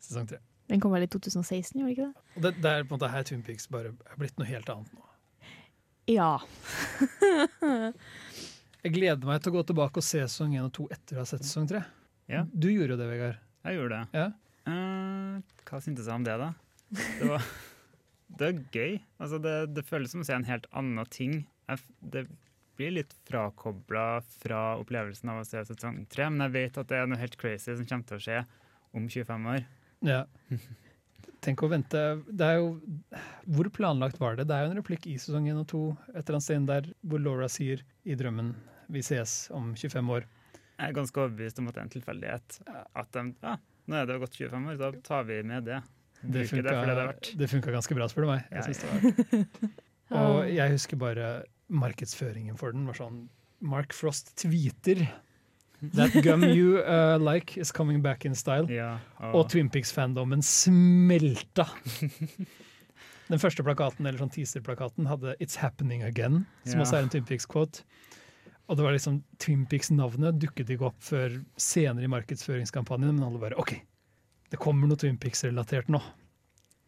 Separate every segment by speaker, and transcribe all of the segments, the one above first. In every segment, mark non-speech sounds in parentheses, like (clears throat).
Speaker 1: sesong tre.
Speaker 2: Den kom vel i 2016, gjorde den ikke det?
Speaker 1: Og det, det er på en måte her Twin Peaks bare er blitt noe helt annet nå.
Speaker 2: Ja.
Speaker 1: Jeg gleder meg til å gå tilbake og se sesong én og to etter å ha sett sesong tre.
Speaker 3: Mm. Ja.
Speaker 1: Du gjorde jo det, Vegard.
Speaker 3: Jeg gjorde det.
Speaker 1: Ja.
Speaker 3: Eh, hva syntes jeg om det, da? Det var, (laughs) det var gøy. Altså, det, det føles som å se en helt annen ting. Jeg, f- det blir litt frakobla fra opplevelsen av å se sesong tre, men jeg vet at det er noe helt crazy som kommer til å skje om 25 år. (laughs)
Speaker 1: Ja. Tenk å vente det er jo, Hvor planlagt var det? Det er jo en replikk i sesong 1 og 2 et eller annet sted inn der hvor Laura sier i drømmen vi ses om 25 år.
Speaker 3: Jeg er ganske overbevist om at det er en tilfeldighet. At de, ja, nå er det jo gått 25 år, da tar vi med det.
Speaker 1: Det
Speaker 3: Bruker det for det det er
Speaker 1: funka,
Speaker 3: verdt.
Speaker 1: det funka ganske bra, spør du meg.
Speaker 3: Ja,
Speaker 1: Jeg synes det var. Og jeg husker bare markedsføringen for den var sånn Mark Frost tweeter That gum you uh, like is coming back in style.
Speaker 3: Ja,
Speaker 1: Og Twin Pics-fandomen
Speaker 3: (laughs)
Speaker 1: smelta! Den første plakaten, eller sånn teaser-plakaten hadde 'It's Happening Again', som
Speaker 3: Ja.
Speaker 1: også er en Twin Pics-quote. Og det var liksom Twin Pics-navnet dukket ikke opp før senere i markedsføringskampanjen, men alle bare OK, det kommer noe Twin Pics-relatert nå.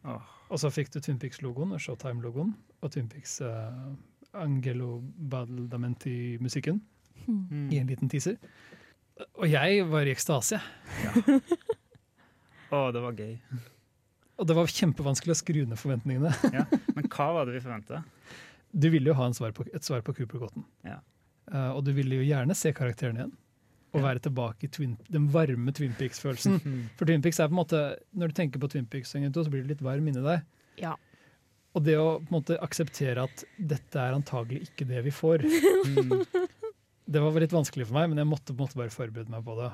Speaker 3: Åh.
Speaker 1: Og så fikk du Twin Pics-logoen og Showtime-logoen og Twin Pics eh, Angelo Baldamenti-musikken
Speaker 2: Hmm.
Speaker 3: Mm.
Speaker 1: i en liten teaser. Og jeg var i ekstase.
Speaker 3: Å, det var gøy.
Speaker 1: Og det var kjempevanskelig å skru ned forventningene.
Speaker 3: Ja. Men hva var det vi
Speaker 1: (laughs)
Speaker 3: forventa?
Speaker 1: Du ville jo ha en svar på, et svar på Cooper Cotton.
Speaker 3: Ja.
Speaker 1: Eh, og du ville jo gjerne se karakteren igjen. Og være tilbake i Twin, den varme Twin
Speaker 3: (laughs)
Speaker 1: Pics-følelsen.
Speaker 3: Mm.
Speaker 1: For Twin Pics er på en måte, Når du tenker på Twin Pics, sesong to, så blir du litt varm inni deg.
Speaker 2: ja.
Speaker 1: Og det å på en måte akseptere at dette er antagelig ikke det vi får, det var litt vanskelig for meg, men jeg måtte på en måte bare forberede meg på det.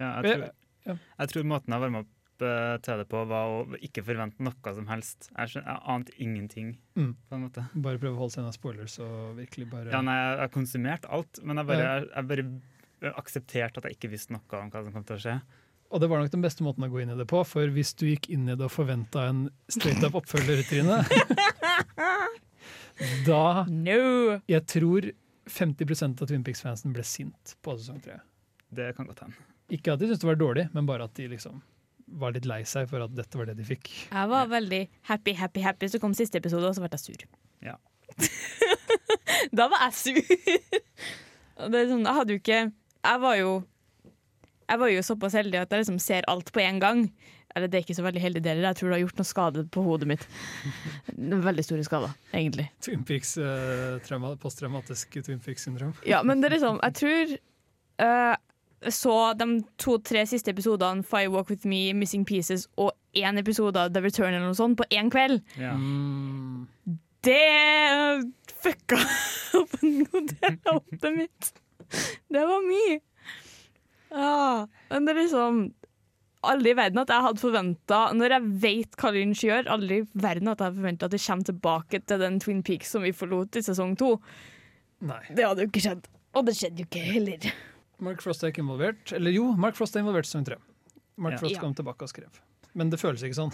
Speaker 3: Ja, jeg
Speaker 1: Eh,
Speaker 3: tror,
Speaker 1: Ja.
Speaker 3: jeg tror måten jeg varma opp eh, til det på, var å ikke forvente noe som helst. Jeg, skjøn, jeg ante ingenting,
Speaker 1: Mm.
Speaker 3: på en måte.
Speaker 1: Bare prøve å holde seg unna spoilers og virkelig bare
Speaker 3: Ja, nei, jeg jeg konsumerte alt, men jeg bare, jeg, jeg bare aksepterte at jeg ikke visste noe om hva som kom til å skje.
Speaker 1: Og det var nok den beste måten å gå inn i det på, for hvis du gikk inn i det og forventa en straight up oppfølger, Trine Da
Speaker 2: No!
Speaker 1: Jeg tror 50 av Twin Pics-fansen ble sint på sesong tre.
Speaker 3: Det kan godt hende.
Speaker 1: Ikke at de syntes det var dårlig, men bare at de liksom var litt lei seg for at dette var det de fikk.
Speaker 2: Jeg var veldig happy, happy, happy. Så kom siste episode, og så ble jeg sur.
Speaker 3: Ja.
Speaker 2: (laughs) da var jeg sur! Og det er sånn, jeg hadde jo ikke Jeg var jo Jeg var jo såpass heldig at jeg liksom ser alt på én gang. Eller det er ikke så veldig heldig deler. Jeg tror det har gjort noe skade på hodet mitt. (laughs) Veldig store skader, egentlig.
Speaker 1: Twin Peaks, eh, trauma, Posttraumatisk Twin Pics-syndrom.
Speaker 2: Ja, men det er liksom Jeg tror eh, så de to-tre siste episodene, Five Walk With Me, Missing Pieces og én episode av The Return eller noe sånt, på én kveld.
Speaker 3: Ja.
Speaker 1: Mm.
Speaker 2: Det eh, fucka (laughs) opp en god del av hodet mitt. Det var mye. Ja, men det er liksom Aldri i verden at jeg hadde forventa, når jeg vet hva Lynch gjør, aldri i verden at jeg forventa at det kommer tilbake til den Twin Peaks som vi forlot i sesong to.
Speaker 1: Nei.
Speaker 2: Det hadde jo ikke skjedd. Og det skjedde jo ikke heller.
Speaker 1: Mark Frost er ikke involvert. Eller jo, Mark Frost er involvert i sesong tre. Mark
Speaker 3: Ja.
Speaker 1: Frost
Speaker 2: Ja.
Speaker 1: kom tilbake og skrev. Men det føles ikke
Speaker 2: (laughs)
Speaker 1: sånn.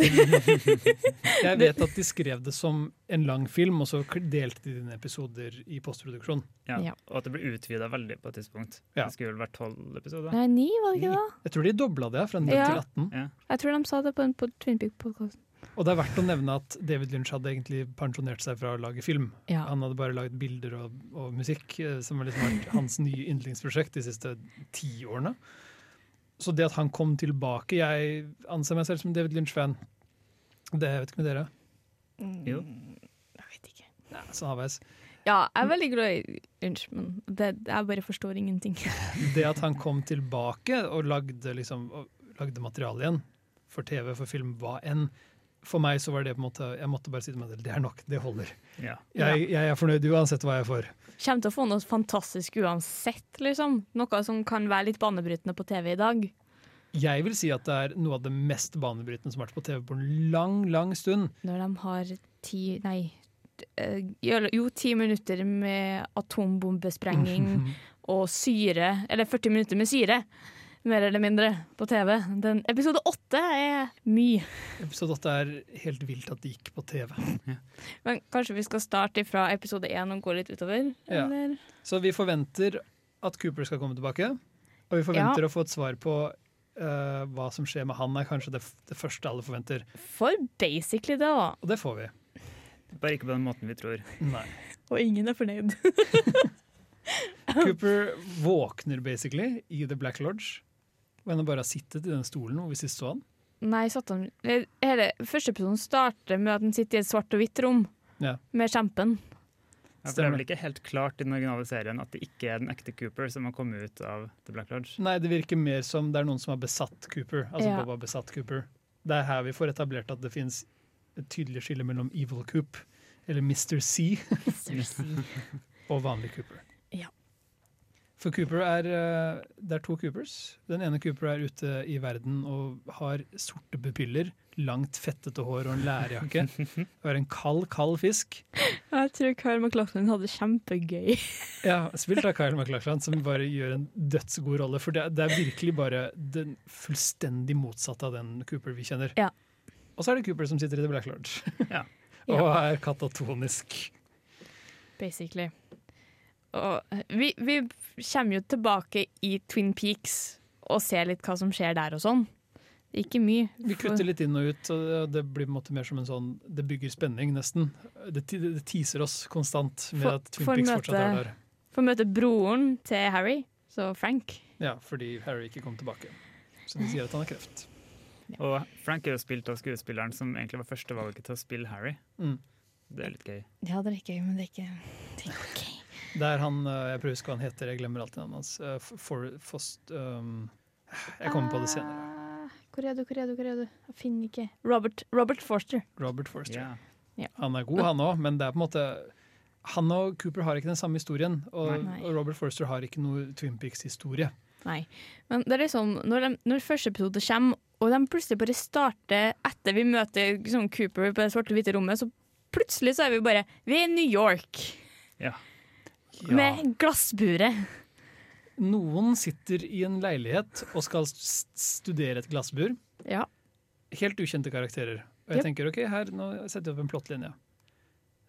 Speaker 1: Jeg vet at de skrev det som en lang film, og så delte de dine episoder i postproduksjon.
Speaker 3: Ja.
Speaker 2: Ja.
Speaker 3: Og at det ble utvida veldig på et tidspunkt.
Speaker 1: Ja.
Speaker 3: Det skulle vel vært tolv episoder.
Speaker 2: Nei, ni, var
Speaker 3: det ikke
Speaker 2: det?
Speaker 1: Jeg tror de dobla det fra 9
Speaker 2: Ja.
Speaker 1: til 18.
Speaker 3: Ja.
Speaker 2: Jeg tror de sa det på, en, på Twin Peak-podkasten.
Speaker 1: Og det er verdt å nevne at David Lynch hadde egentlig pensjonert seg fra å lage film.
Speaker 2: Ja.
Speaker 1: Han hadde bare lagd bilder og, og musikk, eh, som har liksom vært hans nye yndlingsprosjekt de siste ti årene. Så det at han kom tilbake Jeg anser meg selv som David Lynch-fan. Det vet ikke med dere.
Speaker 3: Jo.
Speaker 2: Mm, Jeg vet ikke.
Speaker 1: Nei, så halvveis.
Speaker 2: Ja, jeg er veldig glad i Unnskyld, men det, jeg bare forstår (laughs) ingenting.
Speaker 1: Det at han kom tilbake og lagde, liksom, og lagde materiale igjen, for TV, for film, hva enn, for meg så var det på en måte Jeg måtte bare si til meg selv det er nok, det holder.
Speaker 3: Ja.
Speaker 1: Jeg, jeg er fornøyd uansett hva jeg får.
Speaker 2: Kommer til å få noe fantastisk uansett, liksom. Noe som kan være litt banebrytende på TV i dag.
Speaker 1: Jeg vil si at det er noe av det mest banebrytende som har vært på TV på en lang, lang stund.
Speaker 2: Når de har ti Nei. eh, Jo, ti minutter med (laughs)
Speaker 1: (laughs)
Speaker 2: atombombesprenging og syre. Eller 40 minutter med syre, mer eller mindre, på TV. Den, episode åtte er mye.
Speaker 1: Så dette er helt vilt at det gikk på TV.
Speaker 2: Men kanskje vi skal starte fra episode én og gå litt utover?
Speaker 1: Ja.
Speaker 2: Eller?
Speaker 1: Så vi forventer at Cooper skal komme tilbake, og vi forventer å få et svar på eh, hva som skjer med han, er kanskje det, f- det første alle forventer.
Speaker 2: For basically det, da.
Speaker 1: Og det får vi.
Speaker 3: Bare ikke på den måten vi tror.
Speaker 1: Nei.
Speaker 2: Og ingen er fornøyd. (laughs)
Speaker 1: Cooper våkner basically i The Black Lodge. Og han bare har sittet i den stolen hvor vi sist så han.
Speaker 2: Nei, satt han eh, Hele første episoden starter med at han sitter i et svart og hvitt rom
Speaker 1: Ja.
Speaker 2: med
Speaker 1: (laughs)
Speaker 2: kjempen.
Speaker 3: Ja, for det er
Speaker 1: Stemmer.
Speaker 3: vel ikke helt klart i den originale serien at det ikke er den ekte Cooper som har kommet ut av The Black Lodge.
Speaker 1: Nei, det virker mer som det er noen som har besatt Cooper. Altså
Speaker 2: Ja.
Speaker 1: Bob har besatt Cooper. Det er her vi får etablert at det finnes et tydelig skille mellom Evil Coop, eller Mr. C, og vanlig Cooper.
Speaker 2: Ja.
Speaker 1: For Cooper er eh, Det er to Coopers. Den ene Cooper er ute i verden og har sorte pupiller, langt fettete hår og en
Speaker 2: (laughs)
Speaker 1: lærjakke. Og er en kald, kald fisk.
Speaker 2: Jeg tror Kyle McLaughlin hadde det kjempegøy.
Speaker 1: Ja, spilt av Kyle MacLachlan, som bare gjør en dødsgod rolle. For det, er- det er virkelig bare den fullstendig motsatte av den Cooper vi kjenner.
Speaker 2: Ja.
Speaker 1: Og så er det Cooper som sitter i The Black Lodge
Speaker 3: Ja.
Speaker 1: (laughs) og er katatonisk.
Speaker 2: basically. Og eh, vi, vi kommer jo tilbake i Twin Peaks og ser litt hva som skjer der og sånn. Ikke mye.
Speaker 1: Vi kutter litt inn og ut, og det blir på en måte mer som en sånn Det bygger spenning, nesten. Det, ti- det teaser oss konstant med
Speaker 2: For-
Speaker 1: at Twin
Speaker 2: for
Speaker 1: Peaks
Speaker 2: møte-
Speaker 1: fortsatt er der.
Speaker 2: Får møte broren til Harry, så Frank.
Speaker 1: Ja, fordi Harry ikke kom tilbake. Så de sier at han har kreft.
Speaker 3: Og Frank er jo spilt av skuespilleren som egentlig var førstevalget til å spille Harry.
Speaker 1: Mm.
Speaker 3: Det er litt gøy.
Speaker 2: Ja, det er ikke gøy, men det er ikke, det er ikke ok.
Speaker 1: Det er han eh, Jeg prøver å huske hva han heter, jeg glemmer alltid navnet hans. Eh, F- For, Fost... ehm, jeg kommer på det senere.
Speaker 2: Eh, Hvor er du, hvor er du, hvor er du? Jeg finner ikke Robert, Robert Forster.
Speaker 1: Robert Forster.
Speaker 3: Ja.
Speaker 1: Han er god, han òg, men det er på en måte han og Cooper har ikke den samme historien, og,
Speaker 2: Nei.
Speaker 1: og Robert Forster har ikke noe Twin Peaks-historie.
Speaker 2: Nei. Men det er liksom, når, de, når første episode kommer, og de plutselig bare starter etter vi møter liksom, Cooper på det svarte og hvite rommet, så plutselig så er vi bare Vi er i New York.
Speaker 1: Ja.
Speaker 2: Med glassburet.
Speaker 1: Noen sitter i en leilighet og skal s- studere et glassbur.
Speaker 2: Ja.
Speaker 1: Helt ukjente karakterer. Og jeg
Speaker 2: Yep.
Speaker 1: tenker ok, her, nå setter jeg opp en plottlinje.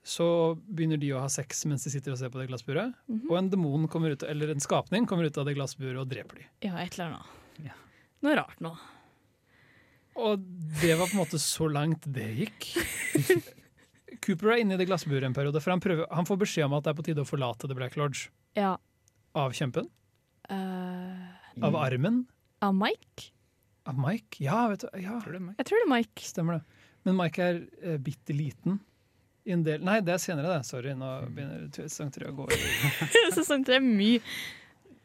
Speaker 1: Så begynner de å ha sex mens de sitter og ser på det glassburet. Og en demon kommer ut, eller en skapning kommer ut av det glassburet og dreper de.
Speaker 2: Ja, et eller annet.
Speaker 3: Ja.
Speaker 2: Noe rart nå.
Speaker 1: Og det var på en måte så langt det gikk. Cooper er inne i det glassburet en periode, for han, prøver, han får beskjed om at det er på tide å forlate The Black Lodge.
Speaker 2: Ja.
Speaker 1: Av kjempen?
Speaker 2: eh,
Speaker 1: Av
Speaker 3: Mm.
Speaker 1: armen?
Speaker 2: av Mike?
Speaker 1: Av Mike? Ja, vet du, ja,
Speaker 3: Tror du det, Mike?
Speaker 2: Jeg tror det er Mike.
Speaker 1: stemmer det. Men Mike er eh, bitte liten. I en del Nei, det er senere, det. Sorry, nå
Speaker 2: Hmm.
Speaker 1: begynner t- sesong tre å gå.
Speaker 2: (laughs) Sesong tre er mye.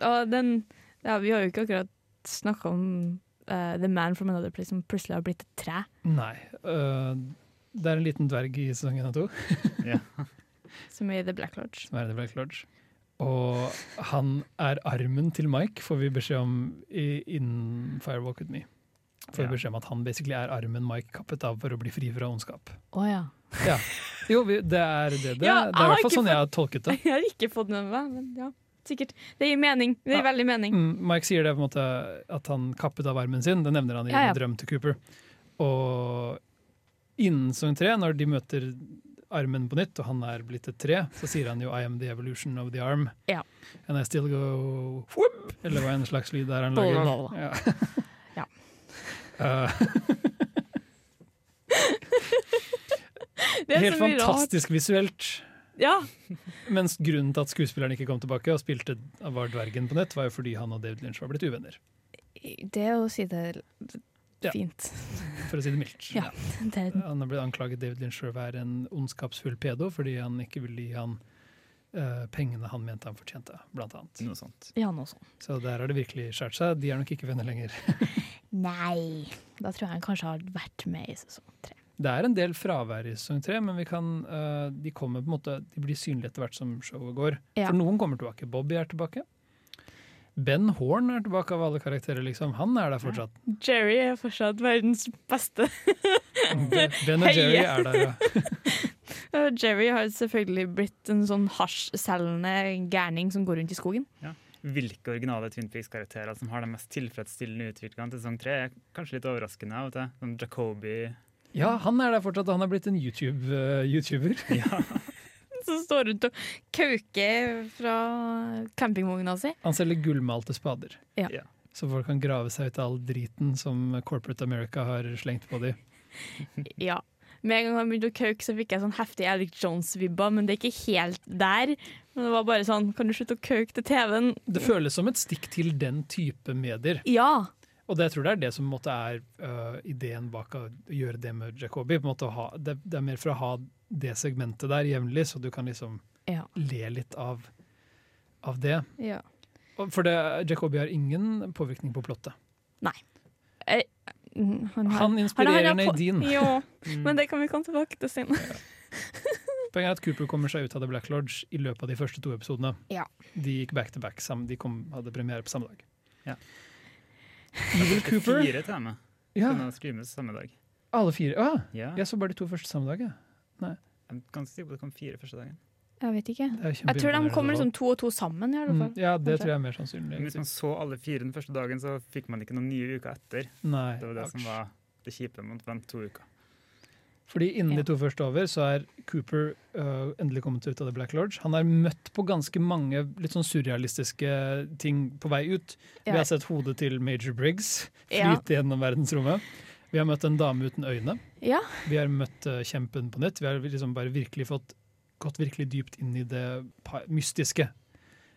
Speaker 2: Og den Ja, vi har jo ikke akkurat snakka om eh, The Man from Another Place som plutselig har blitt et tre.
Speaker 1: Nei. øh, det er en liten dverg i sesong én og to,
Speaker 2: Som er i The Black Lodge.
Speaker 1: som er i The Black Lodge. Og han er armen til Mike, får vi beskjed om i, innen Firewalk With Me. Får vi
Speaker 3: Ja.
Speaker 1: beskjed om at han basically er armen Mike kappet av for å bli fri fra ondskap.
Speaker 2: Å ja.
Speaker 1: Jo, vi, det er det. Det,
Speaker 2: Ja, jeg
Speaker 1: det er i
Speaker 2: har
Speaker 1: hvert fall
Speaker 2: ikke
Speaker 1: sånn jeg har tolket det.
Speaker 2: (laughs) Jeg har ikke fått med meg, men ja. Sikkert. Det gir mening. Det gir veldig mening.
Speaker 1: Mm, Mike sier det på en måte at han kappet av armen sin, det nevner han i
Speaker 2: Ja, ja.
Speaker 1: en drøm til Cooper. Og innen sesong tre, når de møter armen på nytt, og han er blitt et tre, så sier han jo 'I am the evolution of the arm'.
Speaker 2: Ja.
Speaker 1: And I still go whoop, eller hva en slags lyd er han
Speaker 2: Bla, bla,
Speaker 1: lager.
Speaker 2: bla, bla.
Speaker 1: Ja.
Speaker 2: Ja.
Speaker 1: (laughs) Eh,
Speaker 2: (laughs) Det er
Speaker 1: helt
Speaker 2: så mye rart.
Speaker 1: fantastisk visuelt.
Speaker 2: Ja.
Speaker 1: Mens grunnen til at skuespilleren ikke kom tilbake og spilte var dvergen på nytt, var jo fordi han og David Lynch var blitt uvenner,
Speaker 2: Det å si det
Speaker 1: Ja.
Speaker 2: fint. (laughs)
Speaker 1: for å si det mildt.
Speaker 2: Ja. Det er
Speaker 1: Han har blitt anklaget David Lynch for å være en ondskapsfull pedo fordi han ikke ville gi han eh, pengene han mente han fortjente, blant annet.
Speaker 3: Noe sånt.
Speaker 2: ja, noe sånt.
Speaker 1: Så der har det virkelig skjært seg. De er nok ikke venner lenger.
Speaker 2: Nei. Da tror jeg han kanskje har vært med i sesong tre.
Speaker 1: Det er en del fravær i sesong tre, men vi kan, eh, de, kommer på en måte, de blir synlige etter hvert som showet går.
Speaker 2: Ja.
Speaker 1: For noen kommer tilbake. Bobby er tilbake. Ben Horn er tilbake av alle karakterer, liksom. Han er der fortsatt.
Speaker 2: Jerry er fortsatt verdens beste. (laughs)
Speaker 1: Ben og Jerry er der, ja.
Speaker 2: Jerry har selvfølgelig blitt en sånn hasjselgende gærning som går rundt i skogen. (laughs)
Speaker 3: Hvilke originale Twin Peaks-karakterer som har den mest tilfredsstillende utviklingen til sesong tre, er kanskje litt overraskende av og til. Som Jacobi.
Speaker 1: Ja, han er der fortsatt. Han er blitt en YouTube, eh, YouTuber.
Speaker 3: Ja.
Speaker 2: Som står rundt og kauker fra campingvogna si.
Speaker 1: Han selger gullmalte spader.
Speaker 2: Ja.
Speaker 3: Ja.
Speaker 1: Så folk kan grave seg ut av all driten som corporate America har slengt på dem.
Speaker 2: Ja. Med en gang han begynte å kauke, så fikk jeg sånn heftig Alec Jones-vibba, men det er ikke helt der. Men det var bare sånn Kan du slutte å kauke til TV-en?
Speaker 1: Det føles som et stikk til den type medier.
Speaker 2: Ja.
Speaker 1: Og det jeg tror det er det som på en måte er øh, ideen bak å gjøre det med Jacobi. På en måte å ha, det, det er mer for å ha det segmentet der jevnlig, så du kan liksom
Speaker 2: Ja.
Speaker 1: le litt av, av det.
Speaker 2: ja.
Speaker 1: Og For det, Jacobi har ingen påvirkning på plottet.
Speaker 2: Mm, Han, har-
Speaker 1: Han inspirerer
Speaker 2: har-
Speaker 1: Nadine.
Speaker 2: Ja,
Speaker 3: Mm.
Speaker 2: men det kan vi komme tilbake til senere.
Speaker 1: Poenget er at Cooper kommer seg ut av The Black Lodge i løpet av de første to episodene.
Speaker 2: Ja.
Speaker 1: De gikk back to back. Sam, de kom, hadde premiere på samme dag.
Speaker 3: Ja.
Speaker 1: Evil Cooper.
Speaker 3: Fire tema
Speaker 1: Ja,
Speaker 3: kunne streames samme dag.
Speaker 1: alle fire. Å, ja.
Speaker 3: Ja.
Speaker 1: jeg så bare de to første samme dag. jeg.
Speaker 3: Jeg er ganske sikker på at det kom fire første dagen.
Speaker 2: Jeg vet ikke.
Speaker 1: Det er jo
Speaker 2: Jeg tror de
Speaker 1: kjempeimponerende
Speaker 2: kommer
Speaker 1: da.
Speaker 2: liksom to og to sammen, i hvert
Speaker 1: Mm,
Speaker 2: fall.
Speaker 1: ja, det
Speaker 2: kanskje.
Speaker 1: tror jeg er mer
Speaker 3: Men hvis
Speaker 1: sannsynlig.
Speaker 3: man så alle fire den første dagen, så fikk man ikke noen nye uker etter.
Speaker 1: Nei.
Speaker 3: Det var det som var det kjipe. Man vente to uker.
Speaker 1: Fordi innen de
Speaker 2: Ja.
Speaker 1: to første er over, så er Cooper øh, endelig kommet ut av The Black Lodge. Han er møtt på ganske mange litt sånn surrealistiske ting på vei ut. Vi
Speaker 2: Ja.
Speaker 1: har sett hodet til Major Briggs
Speaker 2: Ja.
Speaker 1: flyte gjennom verdensrommet. Vi har møtt en dame uten øyne.
Speaker 2: Ja.
Speaker 1: Vi har møtt øh, kjempen på nytt. Vi har liksom bare virkelig fått gått virkelig dypt inn i det pa- mystiske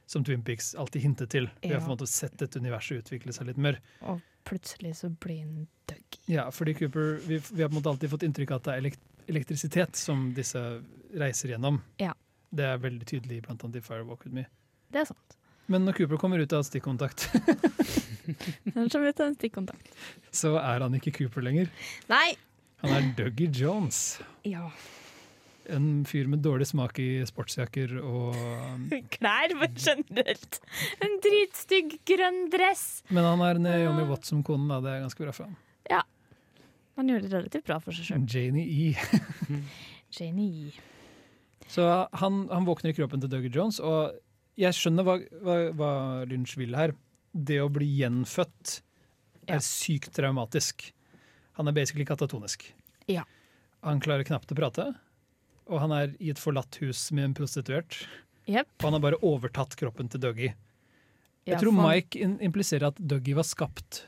Speaker 1: som Twin Peaks alltid hintet til. Vi har
Speaker 2: Ja.
Speaker 1: på en måte sett dette universet utvikle seg litt mer.
Speaker 2: Og plutselig så blir han Dougie.
Speaker 1: Ja, fordi Cooper, vi, vi har på en måte alltid fått inntrykk av at det er elekt elektrisitet som disse reiser gjennom.
Speaker 2: Ja.
Speaker 1: Det er veldig tydelig blant annet i Firewalk With Me.
Speaker 2: Det er sant.
Speaker 1: Men når Cooper kommer ut av stikkontakt, (laughs)
Speaker 2: Ellers så blir det en stikkontakt.
Speaker 1: så er han ikke Cooper lenger.
Speaker 2: Nei!
Speaker 1: Han er Dougie Jones.
Speaker 2: Ja.
Speaker 1: En fyr med dårlig smak i sportsjakker og um,
Speaker 2: Klær for generelt. En dritstygg grønn dress.
Speaker 1: Men han er
Speaker 2: Ah.
Speaker 1: Naomi Watts som kone, da. Det er ganske bra for ham.
Speaker 2: Han gjorde det relativt bra for seg sjøl.
Speaker 1: Janie E. Mm.
Speaker 2: Geni.
Speaker 1: Så han, han våkner i kroppen til Dougie Jones, og jeg skjønner hva, hva, hva Lynch vil her. Det å bli gjenfødt
Speaker 2: Ja.
Speaker 1: er sykt traumatisk. Han er basically katatonisk.
Speaker 2: Ja.
Speaker 1: Han klarer knapt å prate, og han er i et forlatt hus med en prostituert.
Speaker 2: Jepp.
Speaker 1: Og han har bare overtatt kroppen til Dougie. Jeg
Speaker 2: Ja,
Speaker 1: tror
Speaker 2: faen.
Speaker 1: Mike in- impliserer at Dougie var skapt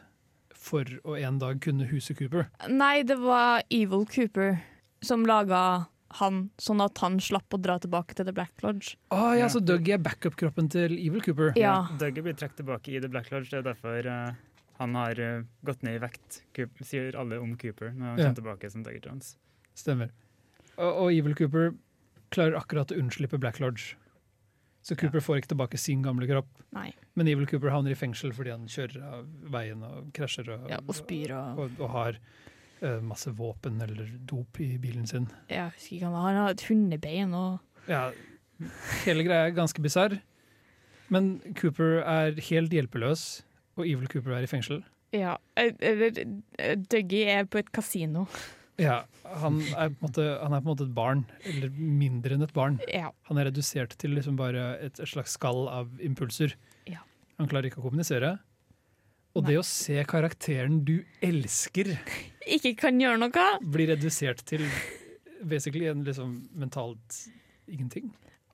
Speaker 1: for å en dag kunne huse Cooper.
Speaker 2: Nei, det var Evil Cooper som laga han, sånn at han slapp å dra tilbake til The Black Lodge.
Speaker 1: Å ja,
Speaker 3: Ja.
Speaker 1: så Dougie er backup-kroppen til Evil Cooper.
Speaker 2: Ja.
Speaker 3: Dougie blir trukket tilbake i The Black Lodge. Det er derfor eh, han har eh, gått ned i vekt, Coop- sier alle om Cooper når han
Speaker 1: Ja.
Speaker 3: kommer tilbake som Dougie Jones.
Speaker 1: Stemmer. Og, og Evil Cooper klarer akkurat å unnslippe Black Lodge. Så Cooper får ikke tilbake sin gamle kropp.
Speaker 2: Nei.
Speaker 1: Men Evil Cooper havner i fengsel fordi han kjører av veien og krasjer og,
Speaker 2: Ja, og spyr og
Speaker 1: og, og har eh, masse våpen eller dop i bilen sin.
Speaker 2: Jeg husker ikke, han har- han har et hundebein og
Speaker 1: Ja, hele greia er ganske bisarr. Men Cooper er helt hjelpeløs, og Evil Cooper er i fengsel.
Speaker 2: Ja. eh, Eller eh, Dougie er på et kasino.
Speaker 1: Ja, han er, på en måte, han er på en måte et barn, eller mindre enn et barn.
Speaker 2: Ja.
Speaker 1: Han er redusert til liksom bare et, et slags skall av impulser.
Speaker 2: Ja.
Speaker 1: Han klarer ikke å kommunisere. Og det å se karakteren du elsker,
Speaker 2: Ikke kan gjøre noe.
Speaker 1: bli redusert til basically en liksom mentalt ingenting.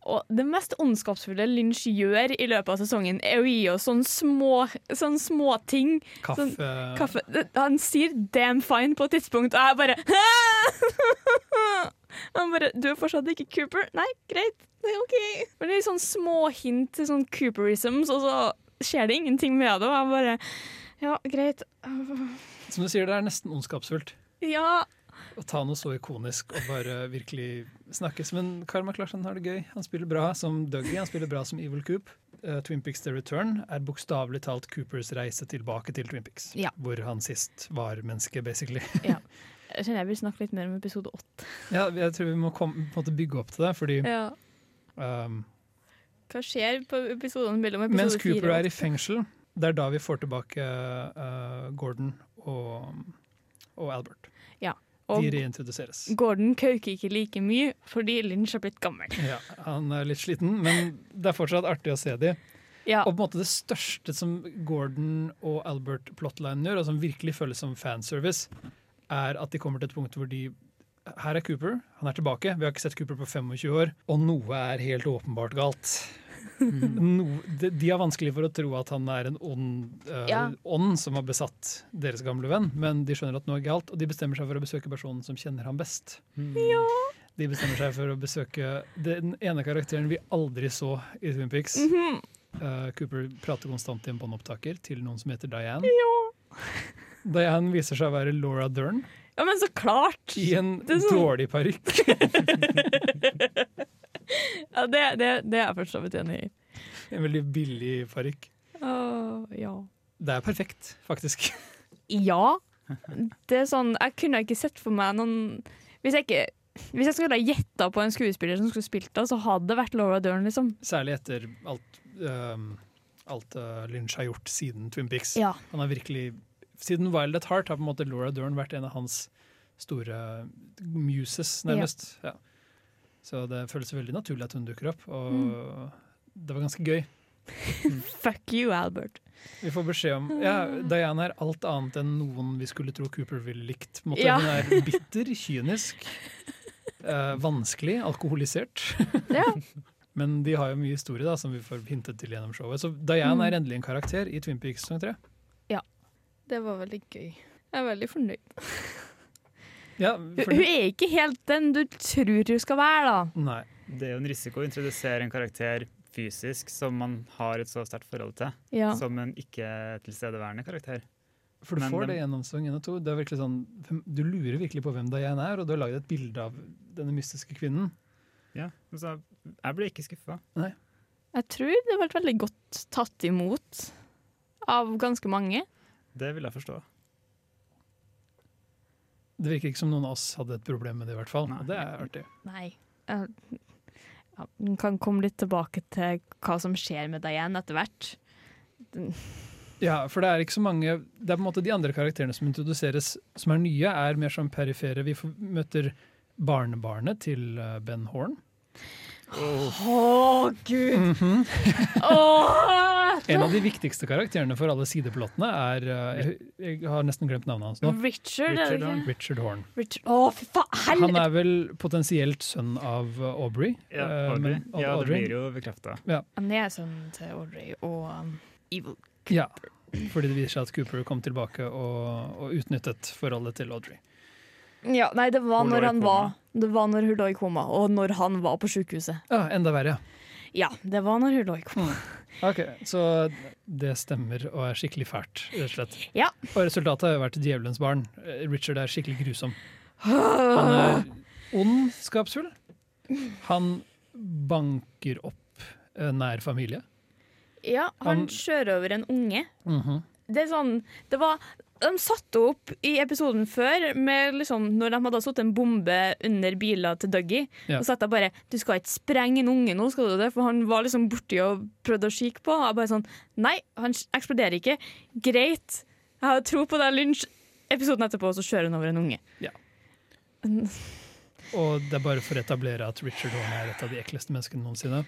Speaker 2: Og det mest ondskapsfulle Lynch gjør i løpet av sesongen, er å gi oss sånne små, sånn småting.
Speaker 1: Kaffe,
Speaker 2: Sånn, Kaffe Han sier 'damn fine' på et tidspunkt, og jeg bare (laughs) «Hæ?» Han bare 'Du er fortsatt ikke Cooper?' Nei, greit. Det er OK. Men det er sånn småhint til sånn Cooperisms, og så skjer det ingenting med det, og jeg bare Ja, greit.
Speaker 1: Som du sier, det er nesten ondskapsfullt.
Speaker 2: Ja.
Speaker 1: Å ta noe så ikonisk og bare virkelig snakkes. Men Karma Clarkson har det gøy. Han spiller bra som Dougie, han spiller bra som Evil Coop. Eh, Twin Peaks The Return er bokstavelig talt Coopers reise tilbake til Twin Peaks.
Speaker 2: Ja.
Speaker 1: Hvor han sist var menneske, basically.
Speaker 2: Jeg kjenner jeg vil snakke litt mer om episode åtte.
Speaker 1: Ja, jeg tror vi må kom, på en måte bygge opp til det, fordi
Speaker 2: Ja.
Speaker 1: um,
Speaker 2: Hva skjer på episodene mellom episode
Speaker 1: Mens Cooper
Speaker 2: fire
Speaker 1: er i fengsel, det er da vi får tilbake uh, Gordon og, og Albert.
Speaker 2: og
Speaker 1: De reintroduseres.
Speaker 2: Gordon kauker ikke like mye fordi Lynch har blitt gammel.
Speaker 1: Ja, han er litt sliten, men det er fortsatt artig å se de.
Speaker 2: Ja.
Speaker 1: Og på en måte det største som Gordon og Albert Plotline gjør, og som virkelig føles som fanservice, er at de kommer til et punkt hvor de Her
Speaker 2: (laughs)
Speaker 1: er Cooper, han er tilbake. Vi har ikke sett Cooper på 25 år, og noe er helt åpenbart galt. No, de, de har vanskelig for å tro at han er en ond eh,
Speaker 2: Ja.
Speaker 1: ånd som har besatt deres gamle venn, men de skjønner at noe er galt, og de bestemmer seg for å besøke personen som kjenner ham best. De bestemmer seg for å besøke den ene karakteren vi aldri så i Twin Peaks.
Speaker 2: Mm. Mhm.
Speaker 1: Eh, Cooper prater konstant i en båndopptaker til noen som heter Diane. Diane viser seg å være Laura Dern
Speaker 2: Ja, men så klart!
Speaker 1: i
Speaker 2: (laughs)
Speaker 1: en
Speaker 2: Det er sånn-
Speaker 1: dårlig parykk.
Speaker 2: Ja, det, det, det er jeg for så vidt enig i.
Speaker 1: En veldig billig parykk.
Speaker 2: Åh, ja.
Speaker 1: Det er perfekt, faktisk. (laughs)
Speaker 2: Ja. Det er sånn, jeg kunne ikke sett for meg noen Hvis jeg, ikke, hvis jeg skulle ha gjetta på en skuespiller som skulle spilt det, så hadde det vært Laura Dern, liksom.
Speaker 1: Særlig etter alt, ehm, alt eh, Lynch har gjort siden Twin Peaks.
Speaker 2: Ja.
Speaker 1: Han har virkelig, Siden Wild at Heart har på en måte Laura Dern vært en av hans store eh, muses, nærmest. Ja. Så det føles veldig naturlig at hun dukker opp, og
Speaker 2: Mm.
Speaker 1: det var ganske gøy.
Speaker 2: Fuck you, Albert.
Speaker 1: Vi får beskjed om ja,
Speaker 2: Ah.
Speaker 1: Diana er alt annet enn noen vi skulle tro Cooper ville likt. på en Måte.
Speaker 2: Ja.
Speaker 1: Hun er bitter, kynisk, eh, vanskelig, alkoholisert.
Speaker 2: Ja.
Speaker 1: Men de har jo mye historie da, som vi får hintet til gjennom showet. Så Diane
Speaker 2: Mm.
Speaker 1: er endelig en karakter i Twin Peaks sesong tre.
Speaker 2: Det var veldig gøy. Jeg er veldig fornøyd.
Speaker 1: Ja,
Speaker 2: Hun,
Speaker 1: for
Speaker 2: hun er ikke helt den du tror hun skal være, da.
Speaker 1: Nei.
Speaker 3: Det er jo en risiko å introdusere en karakter fysisk som man har et så sterkt forhold til,
Speaker 2: Ja.
Speaker 3: som en ikke-tilstedeværende karakter.
Speaker 1: For du
Speaker 3: Men
Speaker 1: får
Speaker 3: dem-
Speaker 1: det gjennom sesong én og to. Det er virkelig sånn, hvem- du lurer virkelig på hvem Diane er, og du har laget et bilde av denne mystiske kvinnen.
Speaker 3: Ja, men så Altså, jeg ble ikke skuffa.
Speaker 2: Jeg tror det har vært veldig godt tatt imot av ganske mange.
Speaker 3: Det vil jeg forstå.
Speaker 1: Det virker ikke som noen av oss hadde et problem med det, i hvert fall.
Speaker 3: Nei.
Speaker 1: Og det er artig.
Speaker 2: Nei. Eh, ja, vi kan komme litt tilbake til hva som skjer med Diane etter hvert.
Speaker 1: Ja, for det er ikke så mange Det er på en måte de andre karakterene som introduseres som er nye, er mer som perifere. Vi får, møter barnebarnet til eh, Ben Horn.
Speaker 3: Åh,
Speaker 2: Å, gud!
Speaker 3: Mhm.
Speaker 2: (laughs) Åh!
Speaker 1: En av de viktigste karakterene for alle sideplottene er eh, jeg, jeg har nesten glemt navnet hans nå.
Speaker 2: Richard, er det
Speaker 3: Richard,
Speaker 2: ikke?
Speaker 1: Richard Horn.
Speaker 2: Richard. Å, fy faen!
Speaker 1: Han
Speaker 2: Helvete!
Speaker 1: er vel potensielt sønn av eh, Aubrey.
Speaker 3: Ja,
Speaker 1: eh,
Speaker 3: Audrey.
Speaker 1: men-
Speaker 3: ja, det
Speaker 1: Audrey.
Speaker 3: blir jo bekrefta.
Speaker 2: Han er sønnen til Audrey og um, Evil.
Speaker 1: Ja, fordi det viser seg at Cooper kom tilbake og, og utnyttet forholdet til Audrey.
Speaker 2: Ja, nei, det var
Speaker 3: Hun lå
Speaker 2: når
Speaker 3: i
Speaker 2: han
Speaker 3: koma.
Speaker 2: var Det var når hun lå i koma, og når han var på sykehuset.
Speaker 1: Ja, Ah, enda verre.
Speaker 2: Ja, det var når hun lå i koma.
Speaker 3: Mm.
Speaker 1: Ok, Så det stemmer og er skikkelig fælt, rett og slett.
Speaker 2: Ja.
Speaker 1: Og resultatet har vært djevelens barn. Eh, Richard er skikkelig grusom. Han er ondskapsfull. Han banker opp eh, nær familie.
Speaker 2: Ja,
Speaker 1: Han-
Speaker 2: han kjører over en unge.
Speaker 1: Mhm.
Speaker 2: Det er sånn Det var de satte opp i episoden før, med liksom, når de hadde satt en bombe under biler til Dougie.
Speaker 1: Ja.
Speaker 2: Og satt jeg bare 'Du skal ikke sprenge en unge nå, skal du det?' For han var liksom borti og prøvde å kikke på. Og jeg bare sånn 'Nei, han eksploderer ikke'. Greit. Jeg har tro på deg, Lynch. Episoden etterpå, så kjører han over en unge.
Speaker 1: Ja. Og det er bare for å etablere at Richard Horn er et av de ekleste menneskene noensinne.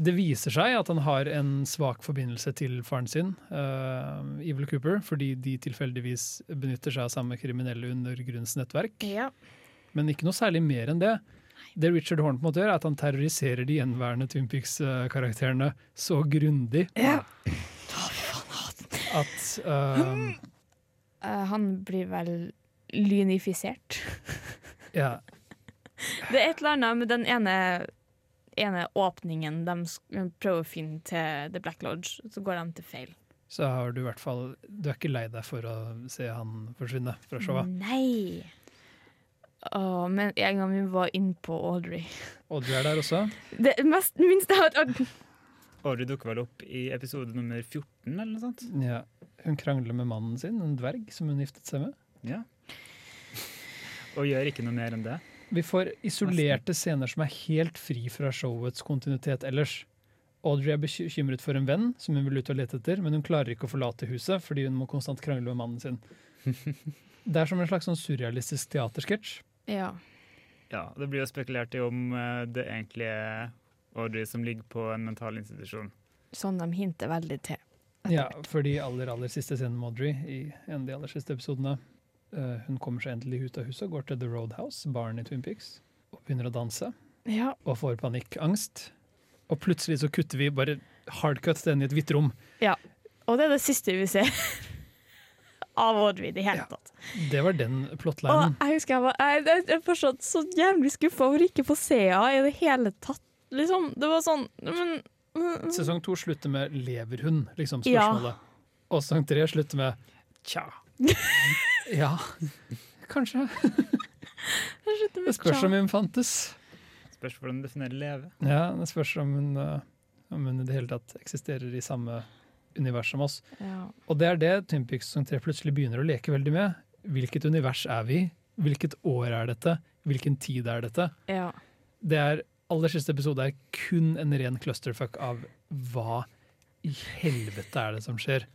Speaker 1: Det viser seg at han har en svak forbindelse til faren sin, eh, Evil Cooper, fordi de tilfeldigvis benytter seg av samme kriminelle undergrunnsnettverk.
Speaker 2: Ja.
Speaker 1: Men ikke noe særlig mer enn det. Det Richard Horn på en måte gjør, er at han terroriserer de gjenværende Twin Peaks-karakterene så grundig
Speaker 2: Ja.
Speaker 1: at eh,
Speaker 2: Eh, han blir vel lynifisert.
Speaker 1: Ja.
Speaker 2: Det er et eller annet med den ene, ene åpningen de sk- prøver å finne til The Black Lodge, så går de til feil.
Speaker 1: Så har du i hvert fall Du er ikke lei deg for å se han forsvinne fra showet.
Speaker 2: Nei! Åh, men en gang vi var inne på Audrey
Speaker 1: Og du er der også.
Speaker 2: Det mest, minste jeg har
Speaker 3: Audrey dukker vel opp i episode nummer 14, eller noe sånt?
Speaker 1: Ja. Hun krangler med mannen sin, en dverg som hun giftet seg med.
Speaker 3: Ja. Og gjør ikke noe mer enn det.
Speaker 1: Vi får isolerte scener som er helt fri fra showets kontinuitet ellers. Audrey er bekymret for en venn som hun vil ut og lete etter, men hun klarer ikke å forlate huset fordi hun må konstant krangle med mannen sin. Det er som en slags sånn surrealistisk teatersketsj.
Speaker 2: Ja.
Speaker 3: Ja, Det blir jo spekulert i om eh, det egentlig er Audrey som ligger på en mental institusjon.
Speaker 2: Sånn de hinter veldig til.
Speaker 1: Ja, for de aller aller siste scenene med Audrey i en av de aller siste episodene. eh, Hun kommer seg endelig ut av huset og går til The Roadhouse, baren i Twin Peaks, og begynner å danse.
Speaker 2: Ja.
Speaker 1: og får panikkangst. Og plutselig så kutter vi bare hardcut til den i et hvitt rom.
Speaker 2: Og det er det siste vi ser (laughs) av Audrey i det hele
Speaker 1: Ja.
Speaker 2: tatt.
Speaker 1: Det var den
Speaker 2: Og
Speaker 1: plotlinen.
Speaker 2: jeg husker jeg var jeg, jeg, jeg fortsatt så jævlig skuffa over ikke å få se henne i det hele tatt. Liksom, det var sånn Men mm,
Speaker 1: Sesong to slutter med 'lever hun?' liksom
Speaker 2: Ja.
Speaker 1: spørsmålet. Og sesong tre slutter med
Speaker 2: (laughs)
Speaker 3: Tja.
Speaker 1: Ja, kanskje.
Speaker 2: jeg slutter
Speaker 1: Det
Speaker 2: med
Speaker 1: spørs om
Speaker 2: tja.
Speaker 1: hun fantes.
Speaker 3: Spørs hvordan du definerer leve.
Speaker 1: Ja, Det spørs om hun, eh, om hun i det hele tatt eksisterer i samme univers som oss.
Speaker 2: Ja.
Speaker 1: Og det er det Twin Peaks sesong tre plutselig begynner å leke veldig med. Hvilket univers er vi i? Hvilket år er dette? Hvilken tid er dette?
Speaker 2: ja.
Speaker 1: Det er aller siste episode er kun en ren clusterfuck av hva i helvete er det som skjer.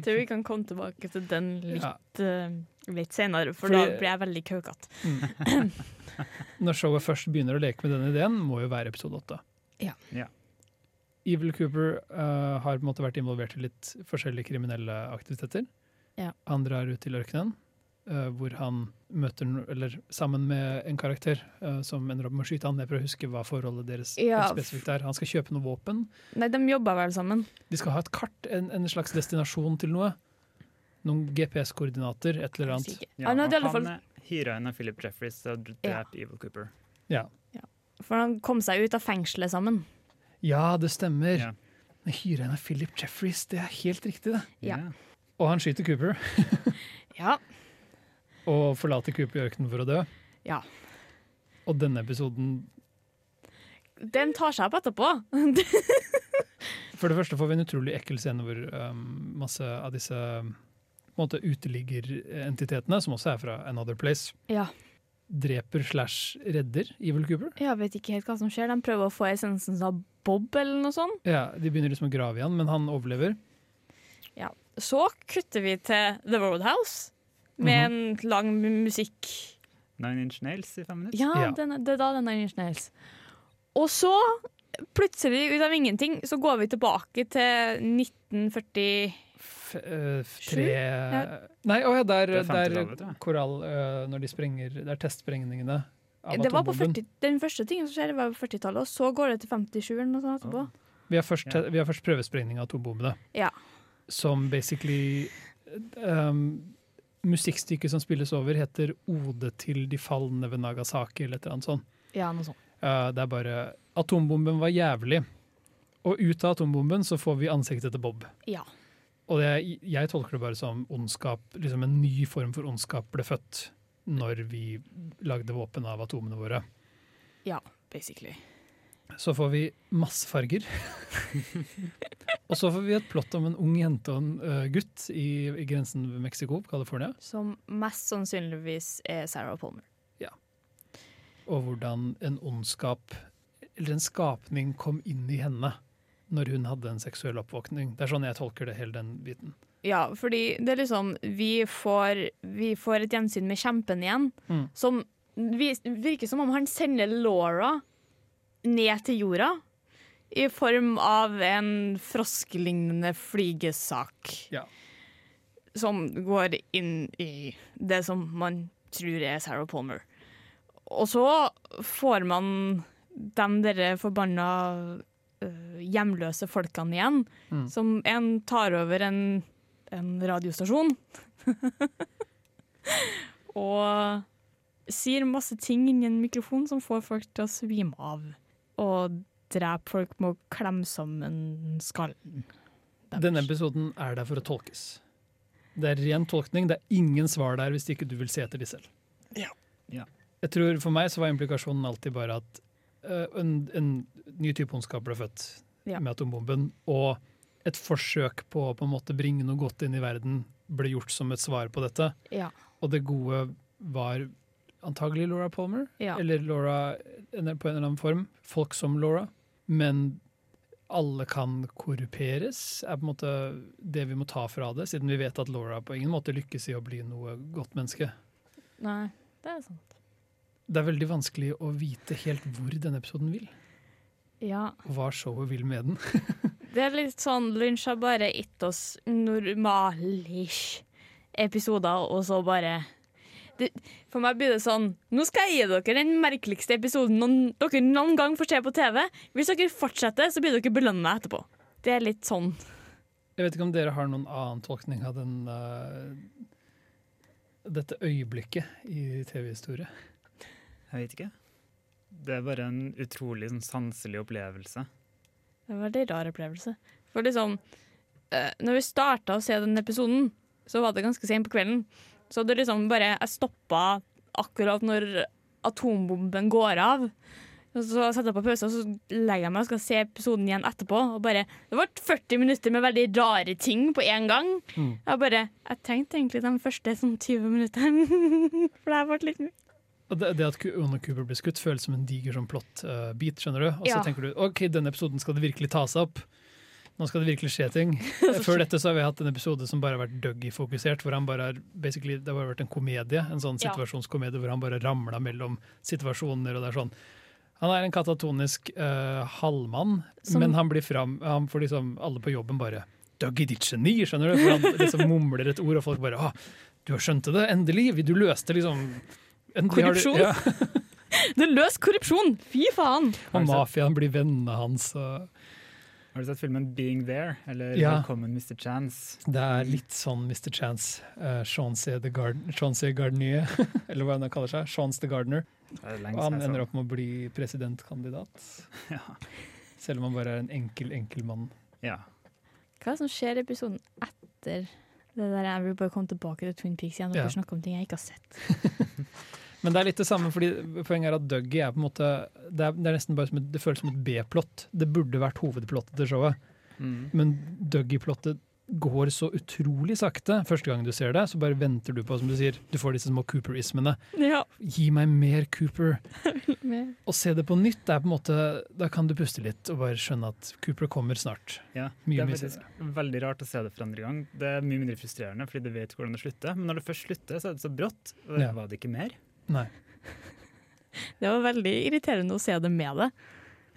Speaker 2: Tror vi kan komme tilbake til den litt,
Speaker 1: Ja.
Speaker 2: eh, litt senere, for
Speaker 1: Fordi-
Speaker 2: da blir jeg veldig kaukete.
Speaker 1: Mm. Når showet først begynner å leke med den ideen, må jo være episode åtte.
Speaker 2: Ja.
Speaker 3: Ja.
Speaker 1: Evil Cooper eh, har på en måte vært involvert i litt forskjellige kriminelle aktiviteter.
Speaker 2: Ja.
Speaker 1: Han drar ut til ørkenen, eh, hvor han møter no- eller sammen med en karakter eh, som ender opp med å skyte han. Jeg prøver å huske hva forholdet deres
Speaker 2: Ja,
Speaker 1: helt spesifikt er. Han skal kjøpe noe våpen.
Speaker 2: Nei, de jobba vel sammen.
Speaker 1: De skal ha et kart, en, en slags destinasjon til noe. Noen GPS-koordinater, et eller annet.
Speaker 2: Sikkert. han hadde i alle
Speaker 3: og
Speaker 2: fall,
Speaker 3: han eh, hyra inn av Philip Jeffries og drepe
Speaker 2: Ja.
Speaker 3: Evil Cooper.
Speaker 2: for han kom seg ut av fengselet sammen.
Speaker 1: Ja, det stemmer.
Speaker 3: Ja.
Speaker 1: Men Hyre en av Philip Jeffries, det er helt riktig, det.
Speaker 2: Ja.
Speaker 1: Og han skyter Cooper,
Speaker 2: Ja.
Speaker 1: og forlater Cooper i ørkenen for å dø.
Speaker 2: ja.
Speaker 1: Og denne episoden
Speaker 2: Den tar seg opp etterpå. (laughs)
Speaker 1: For det første får vi en utrolig ekkel scene hvor um, masse av disse um, på en måte uteliggerentitetene, som også er fra Another Place,
Speaker 2: ja.
Speaker 1: dreper slash redder Evil Cooper.
Speaker 2: Jeg vet ikke helt hva som skjer. De prøver å få essensen av Bob eller noe sånt.
Speaker 1: Ja, De begynner liksom å grave i han, men han overlever.
Speaker 2: Så kutter vi til The Roadhouse med en lang mu- musikk.
Speaker 3: Nine Inch Nails i fem minutter.
Speaker 2: Ja,
Speaker 1: Ja.
Speaker 2: Den, det er da den er Snails. Og så, plutselig ut av ingenting, så går vi tilbake til 1940
Speaker 1: F eh, f-
Speaker 2: Sju?
Speaker 1: tre
Speaker 2: Ja.
Speaker 1: Nei, å ja, der,
Speaker 3: Det
Speaker 1: der
Speaker 3: er 50-tallet, tror jeg.
Speaker 1: korall eh, Når de sprenger Det er testsprengningene av
Speaker 2: Det var på
Speaker 1: atombomben.
Speaker 2: 40, Den første tingen som skjer, det var på 40-tallet, og så går det til 57 eller noe sånt etterpå.
Speaker 1: Vi har først,
Speaker 3: Ja.
Speaker 1: vi har først prøvesprengning av atombombene,
Speaker 2: Ja.
Speaker 1: som basically um, Musikkstykket som spilles over, heter 'Ode til de falne ved Nagasaki', eller et eller annet sånt.
Speaker 2: ja, noe sånt.
Speaker 1: Eh, det er bare 'Atombomben var jævlig', og ut av atombomben så får vi ansiktet til Bob.
Speaker 2: Ja.
Speaker 1: Og det, jeg tolker det bare som ondskap, liksom en ny form for ondskap ble født når vi lagde våpen av atomene våre.
Speaker 2: ja, basically.
Speaker 1: Så får vi masse farger. og så får vi et plott om en ung jente og en eh, gutt i, i grensen ved Mexico, California,
Speaker 2: Som mest sannsynligvis er Sarah Palmer.
Speaker 1: og hvordan en ondskap, eller en skapning, kom inn i henne når hun hadde en seksuell oppvåkning. Det er sånn jeg tolker det, hele den biten.
Speaker 2: Ja, fordi det er liksom Vi får, vi får et gjensyn med kjempen igjen,
Speaker 1: Mm.
Speaker 2: som vi, virker som om han sender Laura ned til jorda. I form av en froskelignende flygesak
Speaker 1: Ja.
Speaker 2: som går inn i det som man tror er Sarah Palmer. Og så får man de derre forbanna øh, hjemløse folkene igjen,
Speaker 1: Mm.
Speaker 2: som en tar over en, en radiostasjon. (laughs) og sier masse ting inni en mikrofon som får folk til å svime av. Og drepe folk med å klemme sammen skallen. deres.
Speaker 1: Denne episoden er der for å tolkes. Det er ren tolkning, det er ingen svar der hvis ikke du vil se etter de selv.
Speaker 2: Ja.
Speaker 3: Ja.
Speaker 1: Jeg tror For meg så var implikasjonen alltid bare at eh, en, en ny type ondskap ble født
Speaker 2: Ja.
Speaker 1: med atombomben, og et forsøk på å på en måte bringe noe godt inn i verden ble gjort som et svar på dette.
Speaker 2: Ja.
Speaker 1: Og det gode var antagelig Laura Palmer,
Speaker 2: Ja.
Speaker 1: eller Laura en- på en eller annen form. Folk som Laura. Men alle kan korruperes, er på en måte det vi må ta fra det, siden vi vet at Laura på ingen måte lykkes i å bli noe godt menneske.
Speaker 2: Nei, det er sant.
Speaker 1: Det er veldig vanskelig å vite helt hvor denne episoden vil,
Speaker 2: Ja.
Speaker 1: og hva showet vil med den.
Speaker 2: Det er litt sånn Lynch har bare gitt oss normalish episoder, og så bare det, For meg blir det sånn Nå skal jeg gi dere den merkeligste episoden noen, dere noen gang får se på TV. Hvis dere fortsetter, så blir dere belønna etterpå. Det er litt sånn.
Speaker 1: Jeg vet ikke om dere har noen annen tolkning av den, eh, dette øyeblikket i TV-historie.
Speaker 3: Jeg vet ikke. Det er bare en utrolig sånn, sanselig opplevelse.
Speaker 2: Det var en veldig rar opplevelse. For liksom, eh, når vi starta å se den episoden, så var det ganske sent på kvelden. Så det liksom bare Jeg stoppa akkurat når atombomben går av. Og så setter jeg på pause, og så legger jeg meg og skal se episoden igjen etterpå. Og bare, Det ble 40 minutter med veldig rare ting på én gang.
Speaker 1: Mm.
Speaker 2: Jeg bare, jeg trengte egentlig de første sånn 20 minuttene. (laughs) For det her ble litt mye.
Speaker 1: Og det, det at Ku- Ono Cooper blir skutt, føles som en diger sånn plott-bit. skjønner du? Og så
Speaker 2: Ja.
Speaker 1: tenker du ok, denne episoden skal det virkelig ta seg opp. Nå skal det virkelig skje
Speaker 2: (laughs)
Speaker 1: ting. Eh, Før dette så har vi hatt en episode som bare har vært Dougie-fokusert. hvor han bare har, basically, Det har bare vært en komedie, en sånn
Speaker 2: Ja.
Speaker 1: situasjonskomedie hvor han bare ramla mellom situasjoner. og det er sånn. Han er en katatonisk eh, halvmann,
Speaker 2: Som-
Speaker 1: men han blir fram, han får liksom alle på jobben bare Dougie, ditt geni! skjønner du? For han liksom mumler et ord, og folk bare ah, du har skjønt det, endelig! Du løste liksom endelig har du-
Speaker 2: Korrupsjon.
Speaker 1: Ja.
Speaker 2: Det løser korrupsjon! Fy faen!
Speaker 3: (laughs) Har
Speaker 1: Og
Speaker 3: du sett-
Speaker 1: mafiaen blir vennene hans. Og
Speaker 3: Har du sett filmen 'Being There'? Eller
Speaker 1: Ja.
Speaker 3: 'Velkommen, Mr. Chance'?
Speaker 1: det er litt sånn Mr. Chance. Uh, Chauncey the Garden- Chauncey Gardenier, (laughs) eller hva han kaller seg. Chance the Gardener.
Speaker 3: Det er lenge
Speaker 1: Og han
Speaker 3: siden jeg så
Speaker 1: ender
Speaker 3: den.
Speaker 1: opp med å bli presidentkandidat.
Speaker 3: (laughs) Ja.
Speaker 1: Selv om han bare er en enkel, enkel mann.
Speaker 3: Ja.
Speaker 2: Hva er det som skjer i episoden etter det der jeg vil bare komme tilbake til Twin Peaks igjen og
Speaker 1: Ja.
Speaker 2: ja. snakke om ting jeg ikke har sett?
Speaker 1: Men det er litt det samme, fordi poenget er at Dougie er på en måte Det, er, det, er nesten bare som et, det føles som et B-plott. Det burde vært hovedplottet til showet.
Speaker 3: Mm.
Speaker 1: Men Dougie-plottet går så utrolig sakte. Første gang du ser det, så bare venter du på, som du sier, du får disse små Cooper-ismene.
Speaker 2: Ja.
Speaker 1: Gi meg mer Cooper!
Speaker 2: Med
Speaker 1: Å se det på nytt, det er på en måte, da kan du puste litt og bare skjønne at Cooper kommer snart.
Speaker 3: ja.
Speaker 1: Mye,
Speaker 3: det
Speaker 1: mye
Speaker 3: er faktisk veldig rart å se det for andre gang. Det er mye mindre frustrerende, fordi du vet hvordan det slutter. Men når det først slutter, så er det så brått. Og det
Speaker 1: Ja.
Speaker 3: var det ikke mer.
Speaker 1: Nei.
Speaker 2: Det var veldig irriterende å se det med det.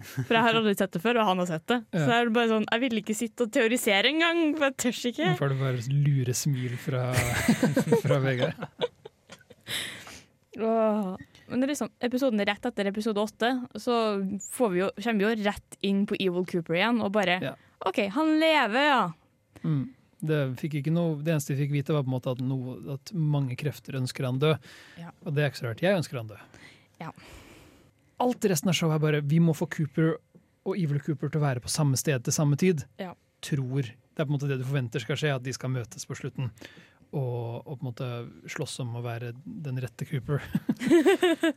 Speaker 2: For jeg har aldri sett det før, og han har sett det. Så
Speaker 1: Ja.
Speaker 2: jeg, er bare sånn, jeg ville ikke sitte og teorisere engang, for jeg tør ikke.
Speaker 1: Nå får du bare lure smil fra, (laughs) fra Vegard.
Speaker 2: Åh. Men det er liksom, episoden rett etter episode åtte, så får vi jo, kommer vi jo rett inn på Evil Cooper igjen, og bare
Speaker 1: Ja.
Speaker 2: OK, han lever, ja!
Speaker 1: Mm. Det, fikk ikke noe, det eneste vi fikk vite, var på en måte at, noe, at mange krefter ønsker han død.
Speaker 2: Ja.
Speaker 1: Og det er ikke så rart. Jeg ønsker han død.
Speaker 2: Ja.
Speaker 1: Alt i resten av showet er bare vi må få Cooper og Evil Cooper til å være på samme sted til samme tid.
Speaker 2: Ja.
Speaker 1: Tror. Det er på en måte det du forventer skal skje, at de skal møtes på slutten. Og, og på en måte slåss om å være den rette
Speaker 2: (laughs)
Speaker 1: Cooper.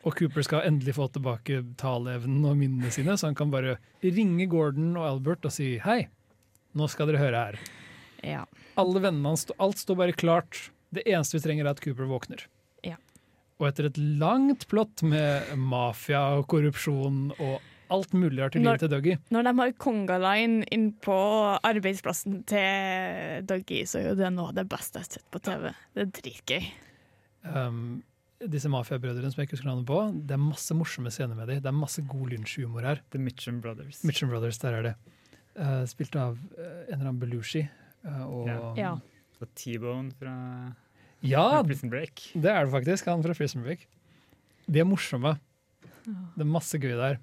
Speaker 1: og Cooper skal endelig få tilbake taleevnen og minnene sine, så han kan bare ringe Gordon og Albert og si hei, nå skal dere høre her.
Speaker 2: ja.
Speaker 1: Alle vennene hans, alt står bare klart. Det eneste vi trenger er at Cooper våkner.
Speaker 2: Ja.
Speaker 1: Og etter et langt plott med mafia og korrupsjon og alt mulig rart i
Speaker 2: Når-
Speaker 1: livet til Dougie
Speaker 2: Når de har Kongaline inn på arbeidsplassen til Dougie, så er jo det noe av det beste jeg har sett på TV. Det er dritgøy.
Speaker 1: um, Disse mafiabrødrene som jeg ikke husker navnet på, det er masse morsomme scener med dem. Det er masse god lunsjhumor her.
Speaker 3: The Mitchum Brothers.
Speaker 1: Mitchum Brothers, der er det. Uh, spilt av uh, en eller annen Belushi. Uh, og
Speaker 2: Ja.
Speaker 3: Og T-Bone fra
Speaker 1: Ja,
Speaker 3: (laughs) Prison Break.
Speaker 1: det er det faktisk. Han fra Prison Break. De er morsomme. Det er masse gøy der.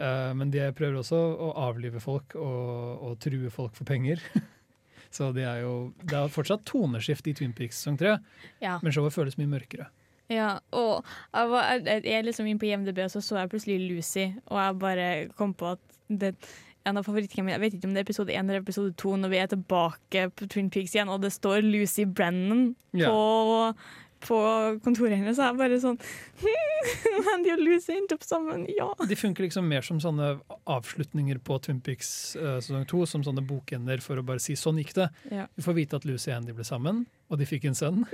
Speaker 1: Eh, men de prøver også å avlive folk og, og true folk for penger. (laughs) Så de er jo, det er fortsatt toneskift i Twin Peaks sesong tre,
Speaker 2: Ja.
Speaker 1: men showet føles mye mørkere.
Speaker 2: Ja, og jeg, var, jeg, jeg er liksom inn på IMDb, og så så jeg plutselig Lucy, og jeg bare kom på at det en av favorittene mine, Jeg vet ikke om det er episode 1 eller episode 2 når vi er tilbake på Twin Peaks igjen, og det står Lucy Brennan på, på kontoret hennes. Så jeg bare sånn (laughs) Mandy og Lucy endte opp sammen, ja!
Speaker 1: De funker liksom mer som sånne avslutninger på Twin Peaks eh, sesong to, som sånne bokender for å bare si 'sånn gikk det'.
Speaker 2: Ja.
Speaker 1: Vi får vite at Lucy og Andy ble sammen, og de fikk en sønn.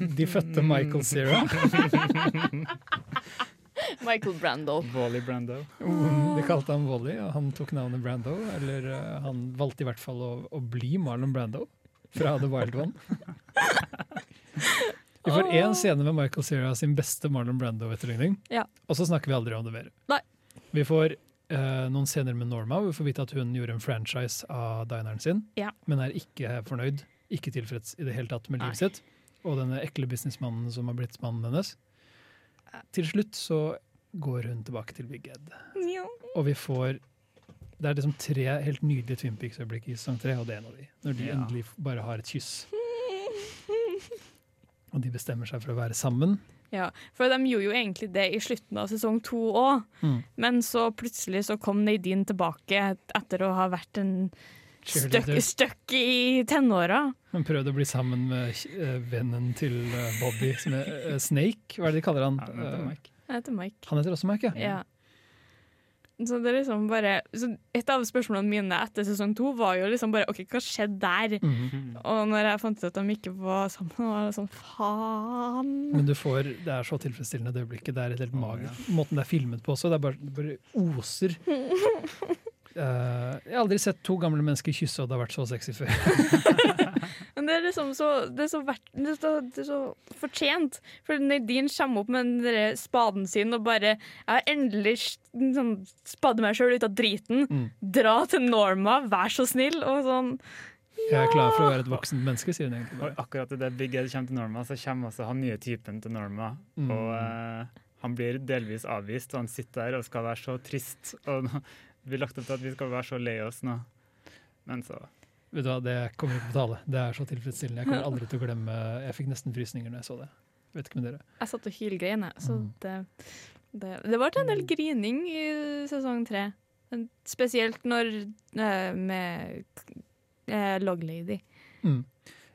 Speaker 1: De fødte Michael Cera.
Speaker 2: Michael Brando.
Speaker 3: Wally Brando.
Speaker 2: Mm.
Speaker 1: De kalte ham Wally, og han tok navnet Brando. Eller eh, han valgte i hvert fall å, å bli Marlon Brando fra The Wild One. Vi får én scene med Michael Cera sin beste Marlon Brando-etterligning,
Speaker 2: Ja.
Speaker 1: og så snakker vi aldri om det mer.
Speaker 2: Nei.
Speaker 1: Vi får eh, noen scener med Norma, hvor vi får vite at hun gjorde en franchise av dineren sin,
Speaker 2: Ja.
Speaker 1: men er ikke fornøyd, ikke tilfreds i det hele tatt med
Speaker 2: Nei.
Speaker 1: livet sitt. og denne ekle businessmannen som har blitt mannen hennes. Til slutt så går hun tilbake til Big Ed,
Speaker 2: Ja.
Speaker 1: og vi får det er liksom tre helt nydelige Twin Peaks-øyeblikk i sesong tre, og det er en av de. Når de
Speaker 3: Ja.
Speaker 1: endelig bare har et kyss. Og de bestemmer seg for å være sammen.
Speaker 2: Ja, (laughs) for de gjorde jo egentlig det i slutten av sesong to òg,
Speaker 1: Mm.
Speaker 2: men så plutselig så kom Nadine tilbake etter å ha vært en støkk,
Speaker 1: Cheerleader.
Speaker 2: støkk i tenåra.
Speaker 1: Han prøvde å bli sammen med eh, vennen til eh, Bobby, som er eh, Snake. Hva er det de kaller han?
Speaker 3: Ja, det er
Speaker 1: Eh,
Speaker 3: Mike.
Speaker 2: Jeg heter Mike.
Speaker 1: Han heter også Mike, ja.
Speaker 2: Ja. Så det er liksom bare så Et av spørsmålene mine etter sesong to var jo liksom bare OK, hva skjedde der?
Speaker 1: Mhm.
Speaker 2: Og når jeg fant ut at de ikke var sammen, var det sånn faen.
Speaker 1: Men du får, det er så tilfredsstillende det øyeblikket. Det er et helt magisk. Måten det er filmet på også, det er bare, det bare oser. Eh, jeg har aldri sett to gamle mennesker kysse og det har vært så sexy før.
Speaker 2: Men det er liksom så Det er så, verdt, det er så, det er så fortjent. For Nadine kommer opp med den der spaden sin og bare Jeg har endelig s- sånn, spadde meg sjøl ut av driten.
Speaker 1: Mm.
Speaker 2: Dra til Norma, vær så snill. Og sånn
Speaker 1: Jeg er klar for å være et voksent menneske, sier hun egentlig.
Speaker 3: Og akkurat i det Big Ed kommer til Norma, så kommer også han nye typen til Norma.
Speaker 1: Mm.
Speaker 3: Og eh, han blir delvis avvist, og han sitter der og skal være så trist. Og nå- vi lagt opp til at vi skal være så lei oss nå. Men så
Speaker 1: Vet du hva, Det kommer ikke på tale. Det er så tilfredsstillende. Jeg kommer aldri til å glemme Jeg fikk nesten frysninger når jeg så det. Vet ikke med dere.
Speaker 2: Jeg satt og hylgrein, jeg. Så
Speaker 1: Mm.
Speaker 2: det, det, det var en del grining i sesong tre. Men Spesielt når eh, med eh, Log Lady.
Speaker 1: Mm.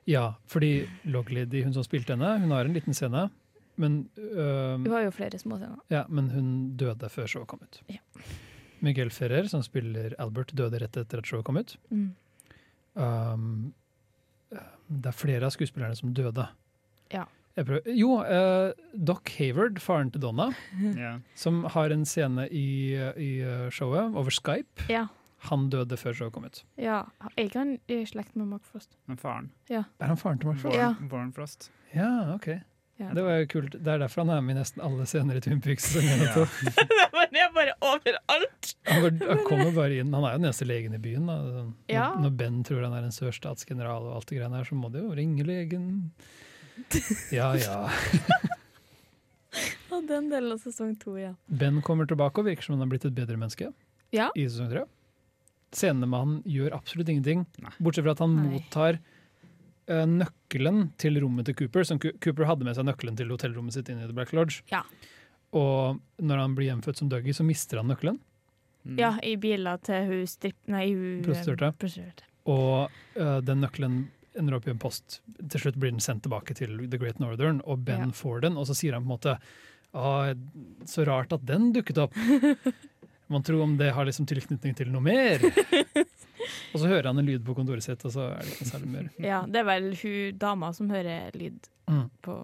Speaker 1: Ja, fordi Loglady, hun som spilte henne, hun har en liten scene, men øhm,
Speaker 2: Hun har jo flere små scener.
Speaker 1: Ja, men hun døde før showet kom ut.
Speaker 2: Ja.
Speaker 1: Miguel Ferrer, som spiller Albert, døde rett etter at showet kom ut.
Speaker 2: Mm.
Speaker 1: Um, det er flere av skuespillerne som døde.
Speaker 2: Ja.
Speaker 1: Jeg prøver, jo, eh, Doc Hayward, faren til Donna,
Speaker 3: ja.
Speaker 1: som har en scene i, i showet over Skype,
Speaker 2: Ja.
Speaker 1: han døde før showet kom ut.
Speaker 2: ja. Er ikke han i slekt med Mark Frost?
Speaker 3: Men faren
Speaker 1: Er han faren til Mark Frost?
Speaker 3: Born,
Speaker 2: Ja.
Speaker 3: Born Frost.
Speaker 1: Ja, ok.
Speaker 2: Ja.
Speaker 1: Det var jo kult. Det er derfor han er med i nesten alle scener i Twin (laughs) Peaks.
Speaker 3: Ja.
Speaker 2: (laughs) Men jeg bare overalt!
Speaker 1: Han, går, han kommer bare inn, han er jo den eneste legen i byen. Da. Sånn, når-
Speaker 2: Ja.
Speaker 1: Når Ben tror han er en sørstatsgeneral, og alt det greiene her, så må de jo ringe
Speaker 2: (laughs)
Speaker 1: legen. Ja, ja.
Speaker 2: (laughs) Og den delen av sesong to, ja.
Speaker 1: Ben kommer tilbake og virker som han har blitt et bedre menneske.
Speaker 2: Ja.
Speaker 1: i sesong tre. Scenene med han gjør absolutt ingenting,
Speaker 3: Nei.
Speaker 1: bortsett fra at han
Speaker 2: Nei.
Speaker 1: mottar eh, nøkkelen til rommet til Cooper. Som Cu- Cooper hadde med seg nøkkelen til hotellrommet sitt inn i The Black Lodge.
Speaker 2: Ja.
Speaker 1: Og når han blir hjemfødt som Dougie, så mister han nøkkelen.
Speaker 3: Mm.
Speaker 2: Ja, I biler til hun stripp... Nei, hun eh,
Speaker 1: Prostituerte.
Speaker 2: prostituerte.
Speaker 1: Og eh, den nøkkelen ender opp i en post. Til slutt blir den sendt tilbake til The Great Northern, og Ben
Speaker 2: Ja.
Speaker 1: får den. Og så sier han på en måte ah, Så rart at den dukket opp. Man tror om det har liksom tilknytning til noe mer. og så hører han en lyd på kontoret sitt, og så er det ikke noe særlig mer.
Speaker 2: Ja, det er vel hun dama som hører lyd
Speaker 1: Mm.
Speaker 2: på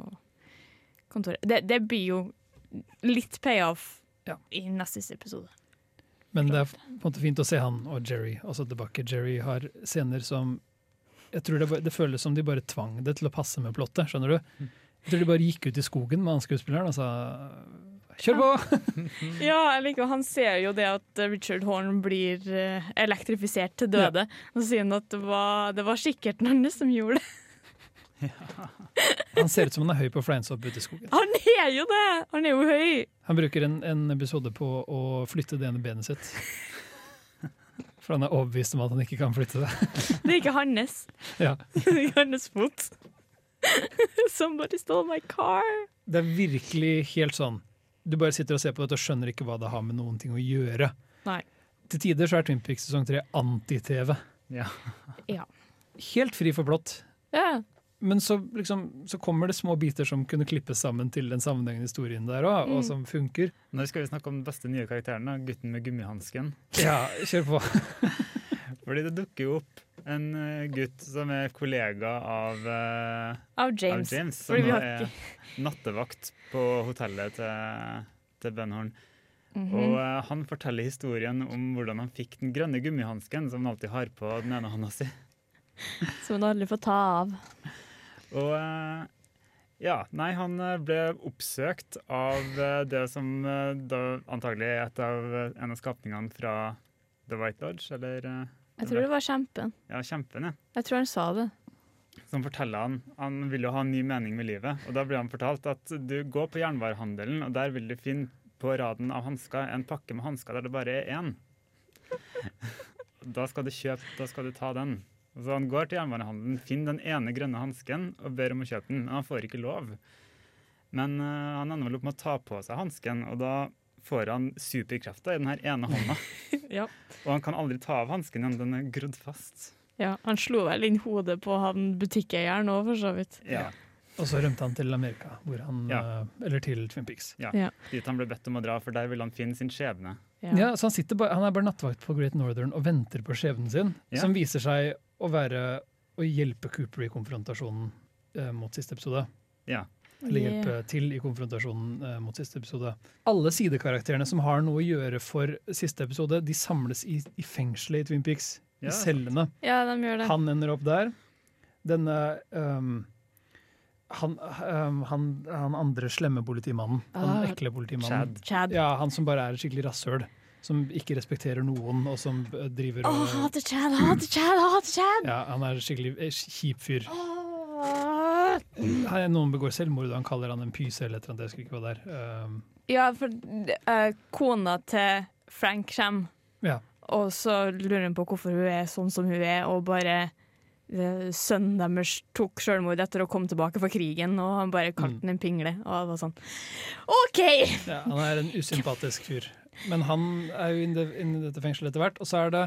Speaker 2: kontoret. Det, det blir jo litt payoff
Speaker 1: Ja.
Speaker 2: i neste episode.
Speaker 1: Men det er på en måte fint å se han og Jerry også tilbake. Jerry har scener som jeg tror det, bare- det føles som de bare tvang det til å passe med plottet. skjønner du? Jeg tror de bare gikk ut i skogen med han skuespilleren og sa 'kjør på'!
Speaker 2: Ja, jeg liker, Han ser jo det at Richard Horn blir eh, elektrifisert til døde. Og så sier han at det var, det var kikkerten hans som gjorde det.
Speaker 1: Han ser ut som han er høy på fleinsopp ute i skogen.
Speaker 2: Han er jo det! Han er jo høy!
Speaker 1: Han bruker en, en episode på å flytte det ene benet sitt. For han er overbevist om at han ikke kan flytte det.
Speaker 2: Det er ikke hans.
Speaker 1: Ja.
Speaker 2: (laughs) Det er ikke hans fot. (laughs) Somebody stole my car!
Speaker 1: Det er virkelig helt sånn. Du bare sitter og ser på dette og skjønner ikke hva det har med noen ting å gjøre.
Speaker 2: Nei.
Speaker 1: Til tider så er Twin Peaks sesong 3 anti-TV.
Speaker 3: Ja.
Speaker 2: Ja.
Speaker 1: Helt fri for plott.
Speaker 2: Ja.
Speaker 1: Men så, liksom, så kommer det små biter som kunne klippes sammen til den sammenhengende historien der òg,
Speaker 2: Mm.
Speaker 1: og som funker.
Speaker 3: Nå skal vi snakke om den beste nye karakteren, da, gutten med gummihansken.
Speaker 1: Ja, kjør på.
Speaker 3: Fordi det dukker jo opp en eh, gutt som er kollega av, eh,
Speaker 2: Av
Speaker 3: av
Speaker 2: James.
Speaker 3: James, som
Speaker 2: Fordi vi
Speaker 3: nå
Speaker 2: har
Speaker 3: er nattevakt på hotellet til, til Ben Horn.
Speaker 2: Mhm.
Speaker 3: Og eh, han forteller historien om hvordan han fikk den grønne gummihansken som han alltid har på den ene hånda si.
Speaker 2: Som hun aldri får ta av.
Speaker 3: Og eh, ja, nei, han eh, ble oppsøkt av eh, det som eh, da antagelig er et av, eh, en av skapningene fra The White Lodge, eller eh,
Speaker 2: Jeg tror det var kjempen.
Speaker 3: ja, Kjempen, ja.
Speaker 2: Jeg tror han sa det.
Speaker 3: som forteller han Han vil jo ha en ny mening med livet. Og da blir han fortalt at du går på jernvarehandelen, og der vil du finne på raden av hansker en pakke med hansker der det bare er én. Da skal du kjøpe, da skal du ta den. Og Så han går til jernvarehandelen, finner den ene grønne hansken og ber om å kjøpe den, men han får ikke lov. Men eh, han ender vel opp med å ta på seg hansken, og da får han superkrefter i den her ene hånda.
Speaker 2: Ja.
Speaker 3: Og han kan aldri ta av hansken igjen, den er grodd fast.
Speaker 2: ja. Han slo vel inn hodet på han butikkeieren òg, for så vidt.
Speaker 3: Ja.
Speaker 1: Og så rømte han til Amerika, hvor han,
Speaker 3: Ja.
Speaker 1: eh, eller til Twin Peaks.
Speaker 2: Ja.
Speaker 3: Dit han ble bedt om å dra, for der ville han finne sin skjebne.
Speaker 1: Ja, så han, sitter bare, han er bare nattvakt på Great Northern og venter på skjebnen sin,
Speaker 3: Ja.
Speaker 1: som viser seg å være å hjelpe Cooper i konfrontasjonen eh, mot siste episode.
Speaker 3: Ja.
Speaker 1: Eller hjelpe til i konfrontasjonen eh, mot siste episode. Alle sidekarakterene som har noe å gjøre for siste episode, de samles i, i fengselet i Twin Peaks.
Speaker 3: Ja.
Speaker 1: I cellene.
Speaker 2: Ja, de gjør det.
Speaker 1: Han ender opp der. Denne ehm, han, ehm, han, han andre slemme politimannen. Han
Speaker 2: Ah,
Speaker 1: ekle politimannen.
Speaker 3: Chad.
Speaker 2: Chad.
Speaker 1: Ja, han som bare er et skikkelig rasshøl. Som ikke respekterer noen, og som eh, driver
Speaker 2: Å,
Speaker 1: og
Speaker 2: hater Chad, hater Chad, hater Chad!
Speaker 1: ja, Han er en skikkelig eh, kjip fyr.
Speaker 2: Åh.
Speaker 1: Han- Noen begår selvmord, og han kaller han en pyse eller et eller annet. Jeg husker ikke hva det er. Um,
Speaker 2: Ja, for eh, kona til Frank kommer,
Speaker 1: ja.
Speaker 2: og så lurer hun på hvorfor hun er sånn som hun er, og bare eh, Sønnen deres tok selvmord etter å komme tilbake fra krigen, og han bare kalte den en pingle. Og det var sånn OK!
Speaker 1: ja, han er en usympatisk fyr. Men han er jo inne inne i dette fengselet etter hvert. Og så er det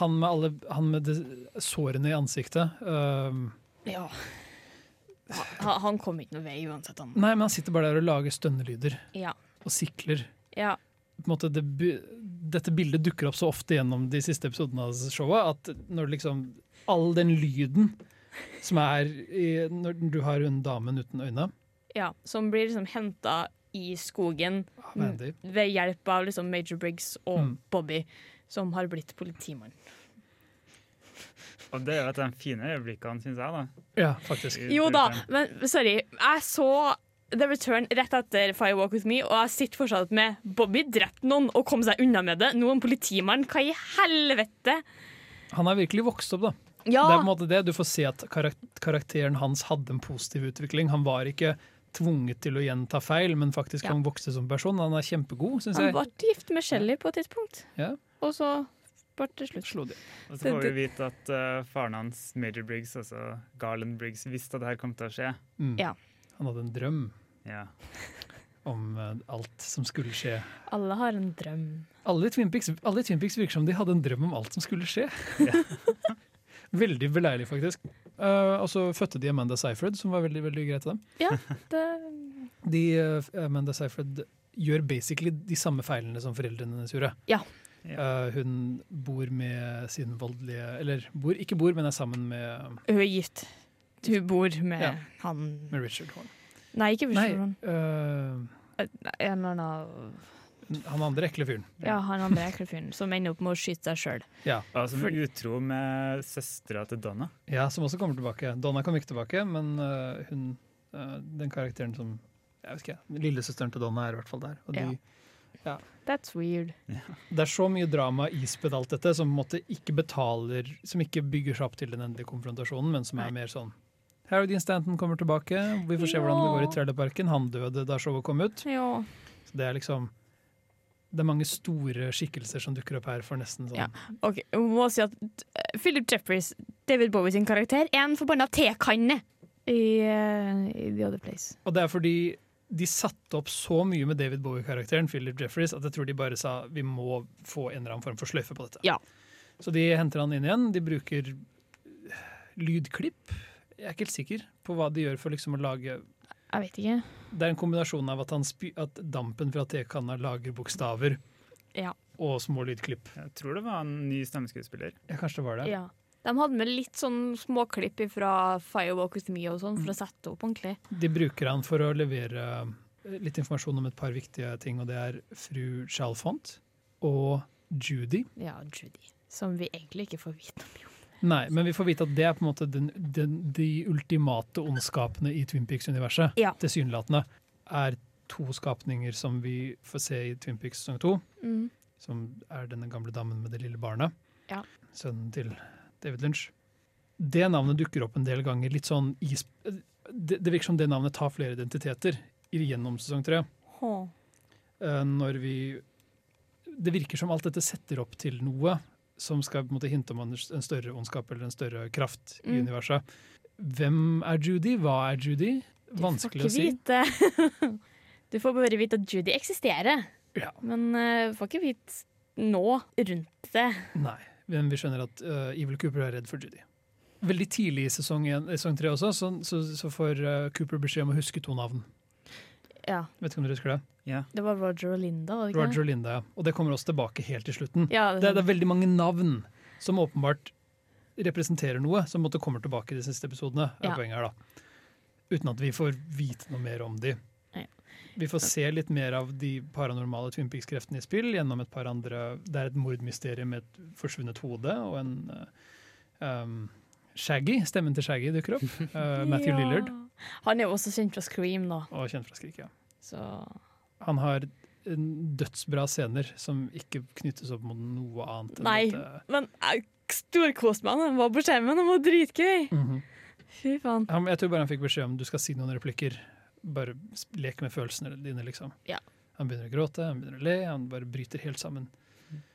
Speaker 1: han med, alle, han med de sårene i ansiktet. Um,
Speaker 2: Ja. Han, han kom ikke noe vei uansett, han.
Speaker 1: nei, men han sitter bare der og lager stønnelyder
Speaker 2: Ja.
Speaker 1: og sikler.
Speaker 2: ja.
Speaker 1: på en måte det, bu- dette bildet dukker opp så ofte gjennom de siste episodene av showet, at når liksom all den lyden som er i, når du har hun damen uten øyne
Speaker 2: ja. Som blir liksom henta i skogen
Speaker 1: av Andy,
Speaker 2: ved hjelp av liksom Major Briggs og
Speaker 1: Mm.
Speaker 2: Bobby, som har blitt politimann.
Speaker 3: Og det er jo et av de fine øyeblikkene, syns jeg. da.
Speaker 1: Ja, faktisk.
Speaker 3: i
Speaker 2: Jo da,
Speaker 3: brukeren.
Speaker 2: men sorry. Jeg så The Return rett etter Fire Walk With Me, og jeg sitter fortsatt med Bobby drepte noen og kom seg unna med det. Noen politimann, hva i helvete?
Speaker 1: Han er virkelig vokst opp, da.
Speaker 2: Ja,
Speaker 1: Det er på en måte det. Du får se at karak karakteren hans hadde en positiv utvikling. Han var ikke tvunget til å gjenta feil, men faktisk
Speaker 2: Ja.
Speaker 1: han vokste som person. Han er kjempegod, syns
Speaker 2: han
Speaker 1: jeg.
Speaker 2: ble gift med Shelly på et tidspunkt,
Speaker 1: Ja.
Speaker 2: og så ble det slutt.
Speaker 1: Slo de.
Speaker 3: Og så
Speaker 2: Det-
Speaker 3: får vi vite at eh, faren hans, Major Briggs, altså Garland Briggs, visste at det her kom til å skje.
Speaker 1: Mm.
Speaker 2: Ja.
Speaker 1: Han hadde en drøm
Speaker 3: Ja.
Speaker 1: om eh, alt som skulle skje.
Speaker 2: Alle har en drøm.
Speaker 1: Alle i Twin Peaks, alle i Twin Peaks virker som de hadde en drøm om alt som skulle skje. (laughs) veldig beleilig, faktisk. Eh, og så fødte de Amanda Seyfried, som var veldig veldig greit til dem.
Speaker 2: Ja, det
Speaker 1: De, eh, Amanda Seyfried gjør basically de samme feilene som foreldrene hennes gjorde.
Speaker 2: Ja.
Speaker 1: Eh, hun bor med sin voldelige Eller bor, ikke bor, men er sammen med,
Speaker 2: Hun er gift. Hun bor med
Speaker 1: Ja.
Speaker 2: han
Speaker 1: med Richard Horn.
Speaker 2: Nei, ikke
Speaker 1: Nei,
Speaker 2: Vishron.
Speaker 1: eh,
Speaker 2: En eller annen
Speaker 1: han andre ekle fyren.
Speaker 2: Ja, han andre ekle fyren som ender opp med å skyte seg sjøl.
Speaker 1: Ja.
Speaker 3: Og som
Speaker 2: For-
Speaker 3: utro med søstera til Donna.
Speaker 1: ja, som også kommer tilbake. Donna kom ikke tilbake, men eh, hun, eh, den karakteren som jeg vet ikke, Lillesøsteren til Donna er i hvert fall der. Og de,
Speaker 2: Ja. That's weird.
Speaker 1: Det er så mye drama ispedd alt dette, som på en måte ikke betaler Som ikke bygger seg opp til den endelige konfrontasjonen, men som er mer sånn Harry Dean Stanton kommer tilbake, vi får se hvordan det går i trailerparken. Han døde da showet kom ut.
Speaker 2: Ja.
Speaker 1: Så det er liksom Det er mange store skikkelser som dukker opp her for nesten sånn
Speaker 2: Ja. Ok, jeg må si at eh, Philip Jeffries, David Bowie sin karakter, er en forbanna tekanne i, eh, i The Other Place.
Speaker 1: Og det er fordi de satte opp så mye med David Bowie-karakteren Philip Jeffries, at jeg tror de bare sa vi må få en eller annen form for sløyfe på dette.
Speaker 2: Ja.
Speaker 1: Så de henter han inn igjen. De bruker eh, lydklipp. Jeg er ikke helt sikker på hva de gjør for liksom å lage
Speaker 2: Jeg vet ikke.
Speaker 1: Det er en kombinasjon av at, han spy, at dampen fra tekanna lager bokstaver
Speaker 2: Ja.
Speaker 1: og små lydklipp.
Speaker 3: Jeg tror det var en ny stemmeskuespiller.
Speaker 1: Ja, kanskje det var det.
Speaker 2: ja. De hadde med litt sånn småklipp fra Firewalk With Me og sånn for å sette opp ordentlig.
Speaker 1: De bruker han for å levere eh, litt informasjon om et par viktige ting, og det er fru Chalfont og Judy.
Speaker 2: Ja, Judy. Som vi egentlig ikke får vite noe om.
Speaker 1: Nei, men vi får vite at det er på en måte den, den, de ultimate ondskapene i Twin Peaks-universet.
Speaker 2: Ja.
Speaker 1: Tilsynelatende er to skapninger som vi får se i Twin Peaks sesong to.
Speaker 2: Mm.
Speaker 1: som er denne gamle damen med det lille barnet.
Speaker 2: Ja.
Speaker 1: Sønnen til David Lynch. det navnet dukker opp en del ganger. litt sånn i, sp- det, det virker som det navnet tar flere identiteter i- gjennom sesong tre.
Speaker 2: Hå.
Speaker 1: eh, når vi Det virker som alt dette setter opp til noe som skal på en måte hinte om en en større ondskap eller en større kraft i
Speaker 2: Mm.
Speaker 1: universet. Hvem er Judy? Hva er Judy? Vanskelig å si.
Speaker 2: Du får ikke vite. (laughs) Du får bare vite at Judy eksisterer,
Speaker 1: Ja.
Speaker 2: men eh, du får ikke vite nå rundt det.
Speaker 1: Nei, men vi skjønner at eh, Evil Cooper er redd for Judy. Veldig tidlig i sesong, en, i sesong tre også, så, så, så får eh, Cooper beskjed om å huske to navn.
Speaker 2: Ja,
Speaker 1: Vet ikke om dere husker det?
Speaker 3: Ja.
Speaker 2: Det var Roger og Linda, var det ikke det?
Speaker 1: Roger og Linda, ja. Og det kommer også tilbake helt til slutten.
Speaker 2: Ja,
Speaker 1: Det, er- det er veldig mange navn som åpenbart representerer noe, som måtte kommer tilbake i de siste episodene. er
Speaker 2: Ja.
Speaker 1: poenget her da. Uten at vi får vite noe mer om de.
Speaker 2: Nei.
Speaker 1: Vi får se litt mer av de paranormale Twin Peaks-kreftene i spill gjennom et par andre Det er et mordmysterium med et forsvunnet hode og en eh, um, Shaggy, stemmen til Shaggy dukker
Speaker 2: (laughs)
Speaker 1: opp. eh, Matthew
Speaker 2: Ja.
Speaker 1: Lillard,
Speaker 2: Han er jo også kjent fra Scream, da.
Speaker 1: og kjent fra Skrik. Ja.
Speaker 2: Så
Speaker 1: Han har en dødsbra scener som ikke knyttes opp mot noe annet. enn
Speaker 2: Nei.
Speaker 1: at, eh,
Speaker 2: Men jeg storkoste meg. Han var på skjermen, han var dritgøy!
Speaker 1: mhm.
Speaker 2: Fy faen.
Speaker 1: Han, jeg tror bare han fikk beskjed om du skal si noen replikker. Bare s- lek med følelsene dine, liksom.
Speaker 2: Ja.
Speaker 1: Han begynner å gråte, han begynner å le, han bare bryter helt sammen.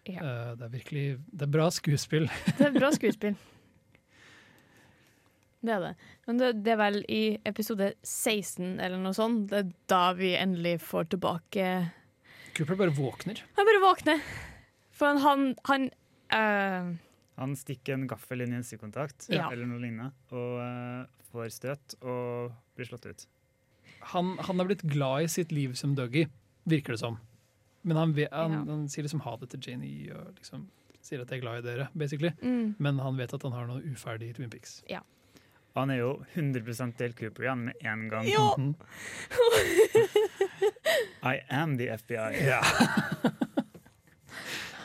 Speaker 2: Ja.
Speaker 1: Eh, det er virkelig det er bra skuespill. (laughs)
Speaker 2: Det er bra skuespill. Det er det. Men det, det er vel i episode 16 eller noe sånt, det er da vi endelig får tilbake
Speaker 1: Cooper bare våkner.
Speaker 2: Han bare våkner. For han, han øh,
Speaker 3: Han stikker en gaffel inn i en stikkontakt
Speaker 2: Ja.
Speaker 3: eller noe lignende, og eh, får støt og blir slått ut.
Speaker 1: Han, han har blitt glad i sitt liv som Dougie, virker det som. Men han, ve- han,
Speaker 2: Ja.
Speaker 1: han sier liksom ha det til Janie og liksom sier at jeg er glad i dere, basically.
Speaker 2: mm,
Speaker 1: Men han vet at han har noe uferdig i Twin Peaks.
Speaker 3: Han er jo 100 Dale Cooper igjen med en gang.
Speaker 2: Jo!
Speaker 1: Mhm.
Speaker 3: I am the FBI.
Speaker 1: (laughs) Ja.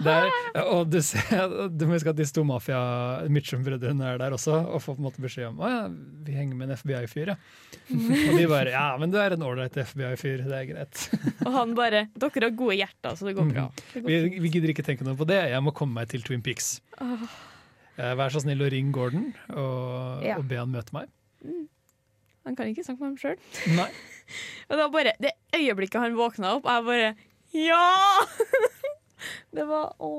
Speaker 1: Der, og du ser, du må huske at disse to mafia Mitchum-brødrene er der også og får på en måte beskjed om at vi henger med en FBI-fyr. Ja. Og de bare ja, men du er en ålreit FBI-fyr, det er greit.
Speaker 2: Og han bare Dere har gode hjerter, så det går bra. Det
Speaker 1: Mm. Vi,
Speaker 2: går
Speaker 1: vi gidder ikke tenke noe på det, jeg må komme meg til Twin Peaks.
Speaker 2: Åh.
Speaker 1: Eh, Vær så snill å ringe Gordon og,
Speaker 2: Ja.
Speaker 1: og be han møte meg.
Speaker 2: Han kan ikke snakke med ham sjøl.
Speaker 1: Nei.
Speaker 2: Og da bare Det øyeblikket han våkna opp, jeg bare Ja! (laughs) det var Å.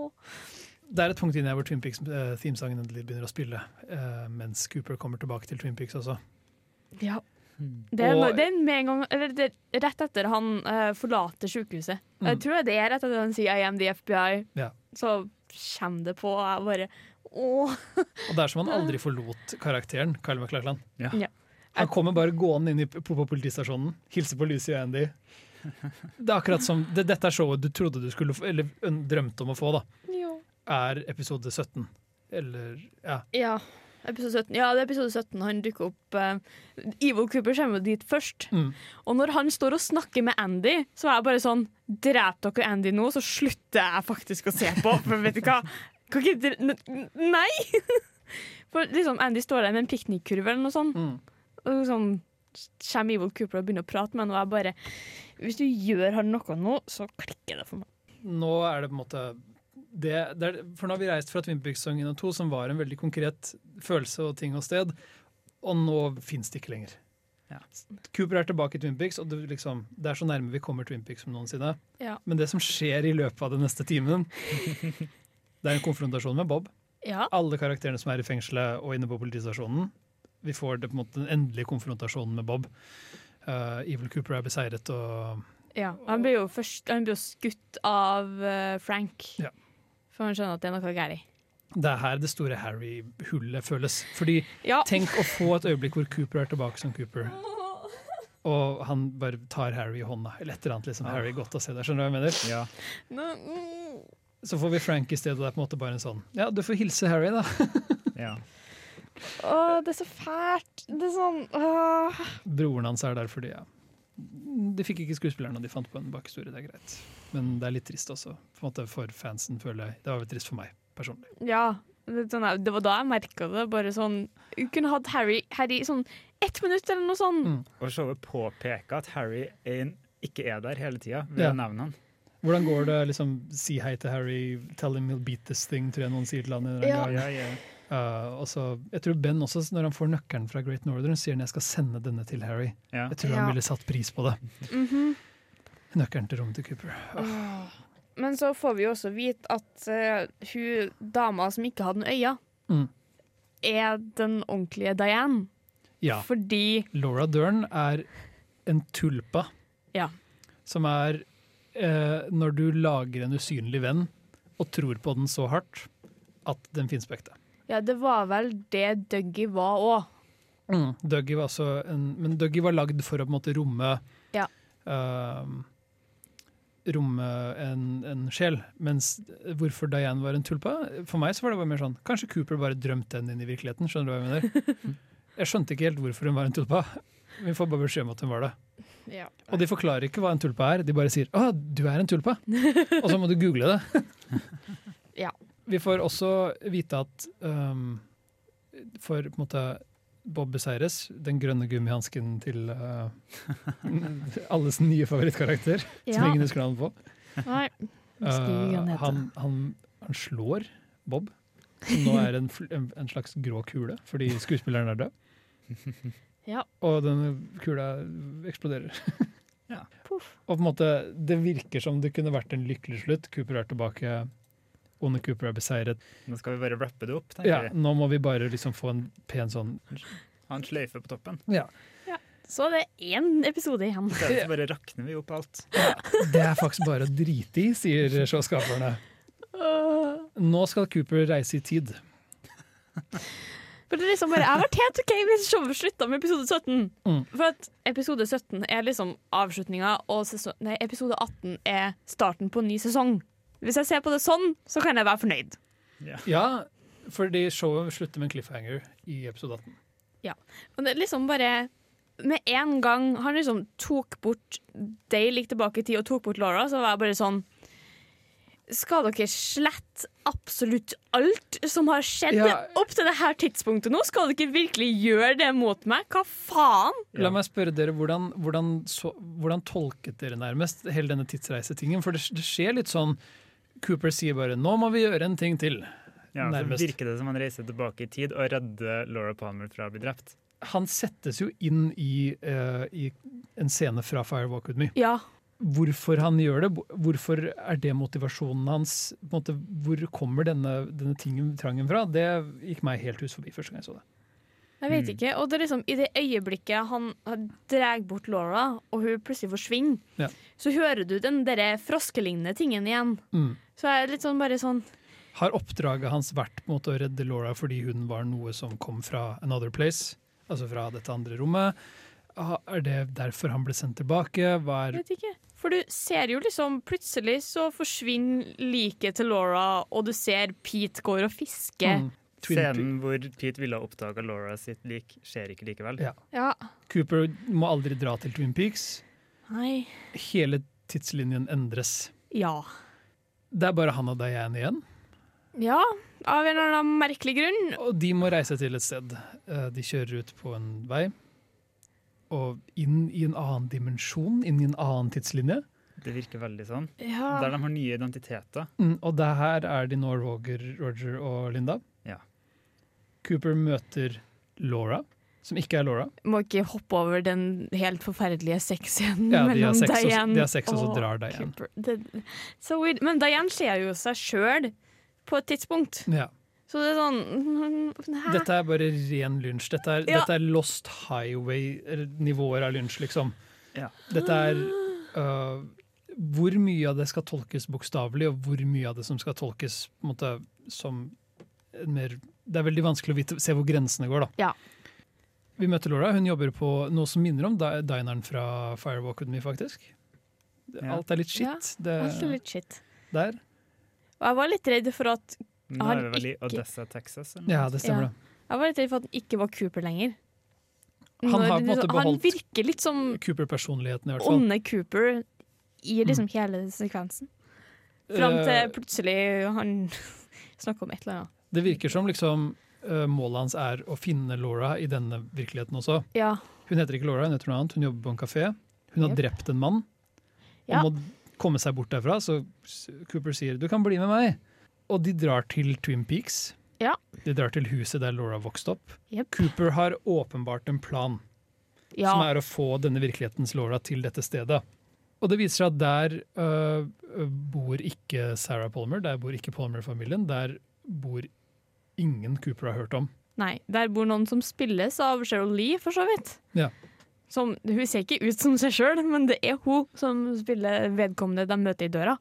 Speaker 1: Det er et punkt inni her hvor Twin Peaks-themesangen endelig begynner å spille, eh, mens Cooper kommer tilbake til Twin Peaks også.
Speaker 2: Ja. Det er,
Speaker 1: Og-
Speaker 2: når- det er med en gang Eller det er rett etter han eh, forlater sykehuset. Jeg
Speaker 1: Mm.
Speaker 2: tror det er rett etter han sier I am the FBI,
Speaker 1: Ja.
Speaker 2: så kommer det på, og jeg bare Åh.
Speaker 1: Og det er som han aldri forlot karakteren, Kyle MacLachlan.
Speaker 3: Ja.
Speaker 2: Ja.
Speaker 1: Han kommer bare gående inn i, på, på politistasjonen, hilser på Lucy og Andy. Det er akkurat som, det, Dette er showet du trodde du skulle få, eller øn- drømte om å få, da,
Speaker 2: Jo.
Speaker 1: er episode 17. Eller ja.
Speaker 2: Ja. Episode 17. Ja, det er episode 17. Han dukker opp eh, Ivo Cooper kommer jo dit først.
Speaker 1: Mm.
Speaker 2: Og når han står og snakker med Andy, så er jeg bare sånn Drep dere Andy nå, så slutter jeg faktisk å se
Speaker 1: (laughs)
Speaker 2: på. For vet du hva? Kan ikke dere n- Nei! (laughs) For liksom, Andy står der med en piknikkurv eller noe sånt,
Speaker 1: Mm.
Speaker 2: og liksom kommer Evil Cooper og begynner å prate med han, og jeg bare Hvis du gjør han noe nå, så klikker det for meg.
Speaker 1: Nå er det på en måte det, det er, For nå har vi reist fra Twin Peaks sesong 1 og 2, som var en veldig konkret følelse og ting og sted, og nå fins det ikke lenger.
Speaker 3: Ja.
Speaker 1: Cooper er tilbake i Twin Peaks, og det, liksom, det er så nærme vi kommer Twin Peaks som noensinne.
Speaker 2: Ja.
Speaker 1: Men det som skjer i løpet av den neste timen, det er en konfrontasjon med Bob.
Speaker 2: Ja.
Speaker 1: Alle karakterene som er i fengselet og inne på politistasjonen. Vi får det på en måte den endelige konfrontasjonen med Bob. Eh, Evil Cooper er beseiret, og
Speaker 2: Han blir jo først Han blir jo skutt av eh, Frank,
Speaker 1: Ja.
Speaker 2: for han skjønner at det er noe galt.
Speaker 1: det er her det store Harry-hullet føles. Fordi
Speaker 2: Ja.
Speaker 1: Tenk å få et øyeblikk hvor Cooper er tilbake som Cooper, og han bare tar Harry i hånda. Eller et eller annet. liksom. Harry, godt å se deg. Skjønner du hva jeg mener?
Speaker 3: Ja.
Speaker 1: Så får vi Frank i stedet. Det er på en måte bare en sånn Ja, du får hilse Harry, da.
Speaker 3: ja.
Speaker 2: Å, det er så fælt. Det er sånn åh.
Speaker 1: Broren hans er der fordi ja. De fikk ikke skuespilleren, og de fant på en bakhistorie. Det er greit. Men det er litt trist også. På en måte For fansen, føler jeg. Det var veldig trist for meg personlig.
Speaker 2: Ja. Det, er sånn, det var da jeg merka det. Bare sånn Vi kunne hatt Harry her i sånn ett minutt eller noe sånn.
Speaker 1: Mm.
Speaker 3: Og showet påpeker at Harry er, ikke er der hele tida, ved
Speaker 1: Ja.
Speaker 3: å nevne han.
Speaker 1: Hvordan går det? liksom Si hei til Harry, tell him he'll beat this thing, tror jeg noen sier til han. en eller annen
Speaker 2: Ja.
Speaker 1: gang.
Speaker 3: Ja, ja.
Speaker 1: Uh, og så, jeg tror Ben også, når han får nøkkelen fra Great Northern, sier han jeg skal sende denne til Harry.
Speaker 3: Ja.
Speaker 1: Jeg tror
Speaker 4: Ja.
Speaker 1: han ville satt pris på det.
Speaker 2: Mm.
Speaker 4: Mhm.
Speaker 1: Nøkkelen til rommet til Cooper.
Speaker 2: Men så får vi jo også vite at eh, hun dama som ikke hadde noen øyne,
Speaker 1: Mm.
Speaker 2: er den ordentlige Diane.
Speaker 1: Ja.
Speaker 2: Fordi
Speaker 1: Laura Dern er en tulpa.
Speaker 4: Ja.
Speaker 1: Som er eh, når du lager en usynlig venn og tror på den så hardt at den finnes på ekte.
Speaker 2: Ja, det var vel det Dougie var òg.
Speaker 1: Dougie var altså en, men Dougie var lagd for å på en måte romme
Speaker 2: Ja.
Speaker 1: eh, Romme en, en sjel. Mens hvorfor Diane var en tulpa? For meg så var det bare mer sånn Kanskje Cooper bare drømte henne inn i virkeligheten. Skjønner du hva jeg mener? Jeg skjønte ikke helt hvorfor hun var en tulpa. Vi får bare beskjed om at hun var det.
Speaker 2: Ja.
Speaker 1: Og de forklarer ikke hva en tulpa er, de bare sier 'Å, du er en tulpa', og så må du google det.
Speaker 4: (laughs)
Speaker 2: Ja.
Speaker 1: Vi får også vite at um, for på en måte Bob Beseires, den grønne gummihansken til uh, alles nye
Speaker 4: (laughs)
Speaker 1: favorittkarakter, som ingen husker navnet på,
Speaker 2: Nei.
Speaker 4: Husker ikke hva han
Speaker 1: uh,
Speaker 4: heter.
Speaker 1: han, han, han slår Bob, som nå er en, fl- en, en slags grå kule fordi skuespilleren er død.
Speaker 2: Ja.
Speaker 1: Og denne kula eksploderer.
Speaker 2: Poff.
Speaker 1: Og på en måte, Det virker som det kunne vært en lykkelig slutt. Cooper er tilbake. Onde Cooper er beseiret.
Speaker 3: Nå skal vi bare rappe det opp, tenker
Speaker 1: Ja,
Speaker 3: vi.
Speaker 1: nå må vi bare liksom få en pen sånn
Speaker 3: Ha en sløyfe på toppen.
Speaker 2: Så det er én episode igjen.
Speaker 3: I stedet så bare rakner vi opp alt.
Speaker 1: Det er faktisk bare å drite i, sier showskaperne. Nå skal Cooper reise i tid.
Speaker 2: For det er liksom bare, Jeg har vært helt OK hvis showet slutta med episode 17.
Speaker 1: Mm.
Speaker 2: For at episode 17 er liksom avslutninga, og sesong, nei, episode 18 er starten på en ny sesong. Hvis jeg ser på det sånn, så kan jeg være fornøyd.
Speaker 1: Ja, fordi showet slutter med en cliffhanger i episode 18.
Speaker 2: Og det er liksom bare Med en gang han liksom tok bort Day gikk tilbake i tid og tok bort Laura, så var jeg bare sånn Skal dere slette absolutt alt som har skjedd
Speaker 1: Ja.
Speaker 2: opp til det her tidspunktet nå? Skal dere virkelig gjøre det mot meg? Hva faen?
Speaker 1: La meg spørre dere, Hvordan, hvordan, så, hvordan tolket dere nærmest hele denne tidsreisetingen? For det, det skjer litt sånn Cooper sier bare 'nå må vi gjøre en ting til'.
Speaker 3: Ja, så
Speaker 1: Nærmest.
Speaker 3: virker det som han reiser tilbake i tid og redder Laura Palmer fra å bli drept.
Speaker 1: han settes jo inn i, eh, i en scene fra Firewalk With Me.
Speaker 2: Ja.
Speaker 1: Hvorfor han gjør det, hvorfor er det motivasjonen hans? På en måte, hvor kommer denne, denne tingen, trangen fra? Det gikk meg helt hus forbi første gang jeg så det.
Speaker 2: Jeg vet
Speaker 3: Mm.
Speaker 2: ikke. Og det er liksom i det øyeblikket han drar bort Laura, og hun plutselig forsvinner,
Speaker 1: Ja.
Speaker 2: så hører du den derre froskelignende tingen igjen.
Speaker 1: Mm.
Speaker 2: Så jeg er litt sånn bare sånn
Speaker 1: Har oppdraget hans vært på en måte, å redde Laura fordi hun var noe som kom fra another place? Altså fra dette andre rommet? Ah, Er det derfor han ble sendt tilbake? Hva
Speaker 2: Jeg
Speaker 1: er
Speaker 2: vet ikke. For du ser jo liksom Plutselig så forsvinner liket til Laura, og du ser Pete går og fisker.
Speaker 1: Mm. Twin
Speaker 3: Scenen hvor Pete ville ha oppdaga Laura sitt lik, skjer ikke likevel.
Speaker 1: Ja.
Speaker 2: Ja.
Speaker 1: Pe- Cooper må aldri dra til Twin Peaks.
Speaker 2: Nei.
Speaker 1: Hele tidslinjen endres.
Speaker 2: Ja.
Speaker 1: Det er bare han og Diane igjen,
Speaker 2: Ja, av en eller annen merkelig grunn.
Speaker 1: og de må reise til et sted. Eh, De kjører ut på en vei, og inn i en annen dimensjon, inn i en annen tidslinje.
Speaker 3: Det virker veldig sånn.
Speaker 2: Ja.
Speaker 3: Der de har nye identiteter.
Speaker 1: Mm, Og det her er de nå Roger, Roger og Linda.
Speaker 3: Ja.
Speaker 1: Cooper møter Laura, som ikke er Laura.
Speaker 4: Må ikke hoppe over den helt forferdelige sexscenen
Speaker 1: Ja, de har
Speaker 4: mellom
Speaker 1: sex, og, så-
Speaker 4: Diane
Speaker 1: de har sex og så
Speaker 4: og
Speaker 1: drar Diane.
Speaker 4: Cooper.
Speaker 2: Det, så weird. Men Diane ser jo seg sjøl på et tidspunkt.
Speaker 1: Ja.
Speaker 2: Så det er sånn Hæ?
Speaker 1: Dette er bare ren lunsj. Dette er,
Speaker 2: Ja.
Speaker 1: dette er Lost Highway-nivåer av lunsj, liksom.
Speaker 3: Ja.
Speaker 1: Dette er øh, hvor mye av det skal tolkes bokstavelig, og hvor mye av det som skal tolkes på en måte, som en mer Det er veldig vanskelig å vite, se hvor grensene går, da.
Speaker 2: Ja.
Speaker 1: Vi møter Laura. Hun jobber på noe som minner om di- dineren fra Firewalk With Me, faktisk.
Speaker 3: Ja.
Speaker 1: Alt er litt
Speaker 2: Ja,
Speaker 1: shit det,
Speaker 2: Alt er litt shit.
Speaker 1: der.
Speaker 2: Og jeg var litt redd for at
Speaker 3: Nå
Speaker 2: Har
Speaker 3: er vi vel i
Speaker 2: ikke-
Speaker 3: Odessa, Texas. eller noe?
Speaker 1: Ja, det stemmer,
Speaker 2: Ja.
Speaker 1: det.
Speaker 2: Jeg var litt redd for at han ikke var Cooper lenger.
Speaker 1: Han har på en
Speaker 2: Når-
Speaker 1: måte
Speaker 2: han
Speaker 1: beholdt-
Speaker 2: virker litt som
Speaker 1: Cooper-personligheten, i hvert fall. Mm.
Speaker 2: onde Cooper i liksom hele sekvensen. Fram
Speaker 1: Eh,
Speaker 2: til plutselig han (laughs) snakker om et eller annet.
Speaker 1: Det virker som liksom eh, målet hans er å finne Laura i denne virkeligheten også.
Speaker 2: Ja.
Speaker 1: Hun heter ikke Laura, hun heter noe annet. Hun jobber på en kafé. Hun har
Speaker 2: Jep.
Speaker 1: drept en mann og
Speaker 2: Ja.
Speaker 1: må komme seg bort derfra, så s- Cooper sier 'du kan bli med meg'. Og de drar til Twin Peaks,
Speaker 2: Ja.
Speaker 1: De drar til huset der Laura vokste opp.
Speaker 5: Jep.
Speaker 1: Cooper har åpenbart en plan,
Speaker 2: Ja.
Speaker 1: som er å få denne virkelighetens Laura til dette stedet. Og det viser seg at der øh, øh, bor ikke Sarah Palmer, der bor ikke Palmer-familien. Der bor ingen Cooper har hørt om.
Speaker 2: Nei, der bor noen som spilles av Cheryl Lee, for så vidt.
Speaker 1: Ja.
Speaker 2: Som, hun ser ikke ut som seg sjøl, men det er hun som spiller vedkommende de møter i døra.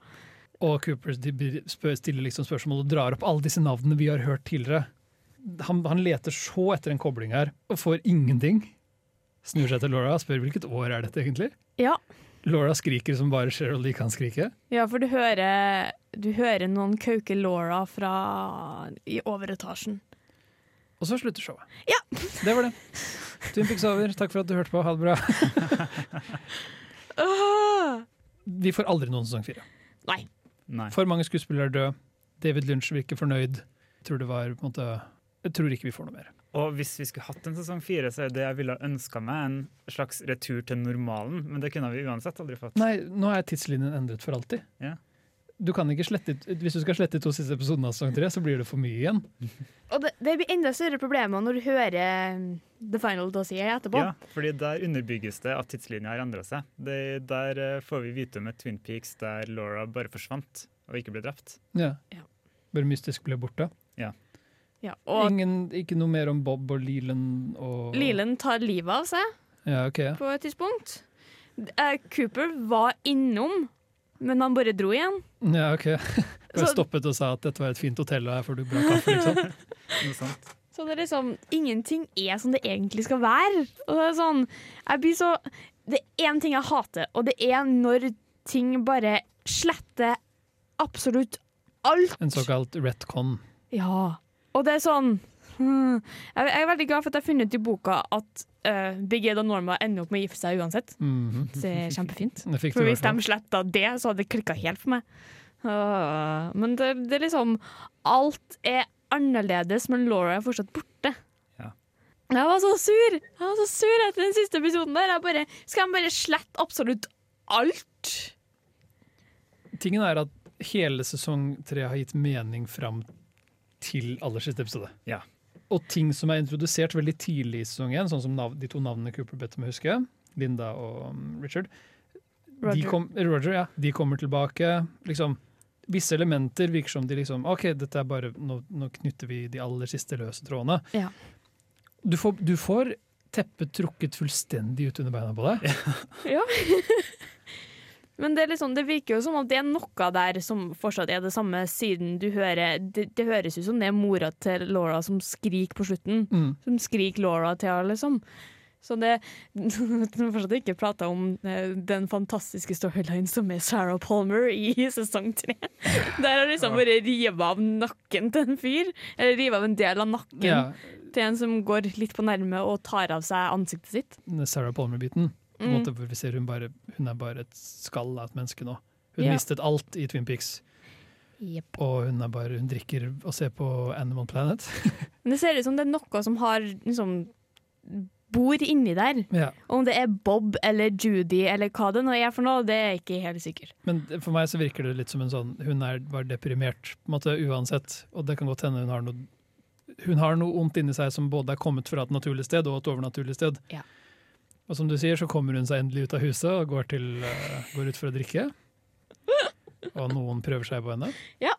Speaker 1: Og Cooper de blir- spør, stiller liksom spørsmål og drar opp alle disse navnene vi har hørt tidligere. Han, han leter så etter en kobling her, og får ingenting. Snur seg til Laura og spør hvilket år er dette egentlig.
Speaker 2: Ja.
Speaker 1: Laura skriker som bare Cheryl Lee kan skrike.
Speaker 2: Ja, for du hører, du hører noen kauke Laura fra i overetasjen.
Speaker 1: Og så slutter showet.
Speaker 2: Ja.
Speaker 1: Det var det. Twin Pics over. Takk for at du hørte på. Ha det bra.
Speaker 5: Ah!
Speaker 1: Vi får aldri noen sesong fire.
Speaker 3: Nei.
Speaker 1: For mange skuespillere er døde. David Lynch virker fornøyd. Jeg tror det var på en måte Jeg tror ikke vi får noe mer.
Speaker 3: Og hvis vi skulle hatt en sesong fire, så er det jeg ville ønska meg en slags retur til normalen, men det kunne vi uansett aldri fått.
Speaker 1: Nei, nå er tidslinjen endret for alltid.
Speaker 3: Ja.
Speaker 1: Du kan ikke slette ut, Hvis du skal slette ut to siste episoder av sesong tre, så blir det for mye igjen.
Speaker 5: Og det, det blir enda større problemer når du hører um, The Final Dossier etterpå.
Speaker 3: Ja, fordi der underbygges det at tidslinja har endra seg. Det, der eh, får vi vite om et Twin Peaks der Laura bare forsvant og ikke ble drept.
Speaker 1: Ja.
Speaker 2: Ja.
Speaker 1: Bare mystisk ble borte.
Speaker 2: Ja, og
Speaker 1: Ingen, ikke noe mer om Bob og Leland og
Speaker 2: Lilen tar livet av seg
Speaker 1: Ja, ok. ja.
Speaker 2: på et tidspunkt. Eh, Cooper var innom, men han bare dro igjen.
Speaker 1: Ja, ok. (laughs) Bare
Speaker 2: Så-
Speaker 1: stoppet og sa at dette var et fint hotell, og her får du bra kaffe. liksom.
Speaker 3: Noe sånt.
Speaker 2: Så det er liksom, ingenting er som det egentlig skal være. Og det er sånn, jeg blir så
Speaker 5: Det er én ting jeg hater, og det er når ting bare sletter absolutt alt.
Speaker 1: En såkalt retcon.
Speaker 5: Ja. Og det er sånn hmm. jeg, jeg er veldig glad for at jeg har funnet ut i boka at uh, Big Ed og Norma ender opp med å gifte seg uansett.
Speaker 1: Mhm.
Speaker 5: Det er kjempefint.
Speaker 1: Det fikk du
Speaker 5: For
Speaker 1: i
Speaker 5: hvis
Speaker 1: hvert fall.
Speaker 5: de sletta det, så hadde det klikka helt for meg. Åh, men det, det er liksom Alt er annerledes, men Laura er fortsatt borte.
Speaker 3: Ja.
Speaker 5: Jeg var så sur Jeg var så sur etter den siste episoden der. Jeg bare, skal de bare slette absolutt alt?
Speaker 1: Tingen er at hele sesong tre har gitt mening fram til aller siste episode.
Speaker 3: Ja.
Speaker 1: Og ting som er introdusert veldig tidlig i sesong én, sånn som nav de to navnene Cooper bedt om å huske, Linda og um, Richard, De,
Speaker 5: Roger.
Speaker 1: kom, eh, Roger ja, de kommer tilbake. Liksom, visse elementer virker som de liksom OK, dette er bare, nå, nå knytter vi de aller siste løse trådene.
Speaker 5: Ja.
Speaker 1: Du, får, du får teppet trukket fullstendig ut under beina på deg.
Speaker 2: Men det, er liksom, det virker jo som om det er noe der som fortsatt er det samme, siden du hører Det, det høres ut som det er mora til Laura som skriker på slutten.
Speaker 1: Mm.
Speaker 2: Som skriker Laura til henne, liksom. Så det (laughs) Vi har fortsatt ikke prata om eh, den fantastiske storylinen som er Sarah Palmer i (laughs) sesong tre. Der har liksom bare rivet av nakken til en fyr. Eller rivet av en del av nakken
Speaker 1: Ja,
Speaker 2: til en som går litt på nærme og tar av seg ansiktet sitt.
Speaker 1: den Sarah Palmer-biten. På en
Speaker 2: Mm.
Speaker 1: måte hvor vi ser hun, bare, hun er bare et skall av et menneske nå. Hun
Speaker 2: Ja.
Speaker 1: mistet alt i Twin Peaks.
Speaker 5: Jep.
Speaker 1: Og hun, er bare, hun drikker og ser på Animal Planet. (laughs)
Speaker 2: Men det ser ut som det er noe som har liksom bor inni der.
Speaker 1: ja.
Speaker 2: Om det er Bob eller Judy eller hva det nå er for noe, det er jeg ikke helt sikker.
Speaker 1: Men det- for meg så virker det litt som en sånn Hun er bare deprimert, på en måte, uansett. Og det kan godt hende hun har noe Hun har noe ondt inni seg som både er kommet fra et naturlig sted og et overnaturlig sted.
Speaker 2: Ja.
Speaker 1: Og som du sier, så kommer hun seg endelig ut av huset og går, til, eh, går ut for å drikke. Og noen prøver seg på henne.
Speaker 2: Ja,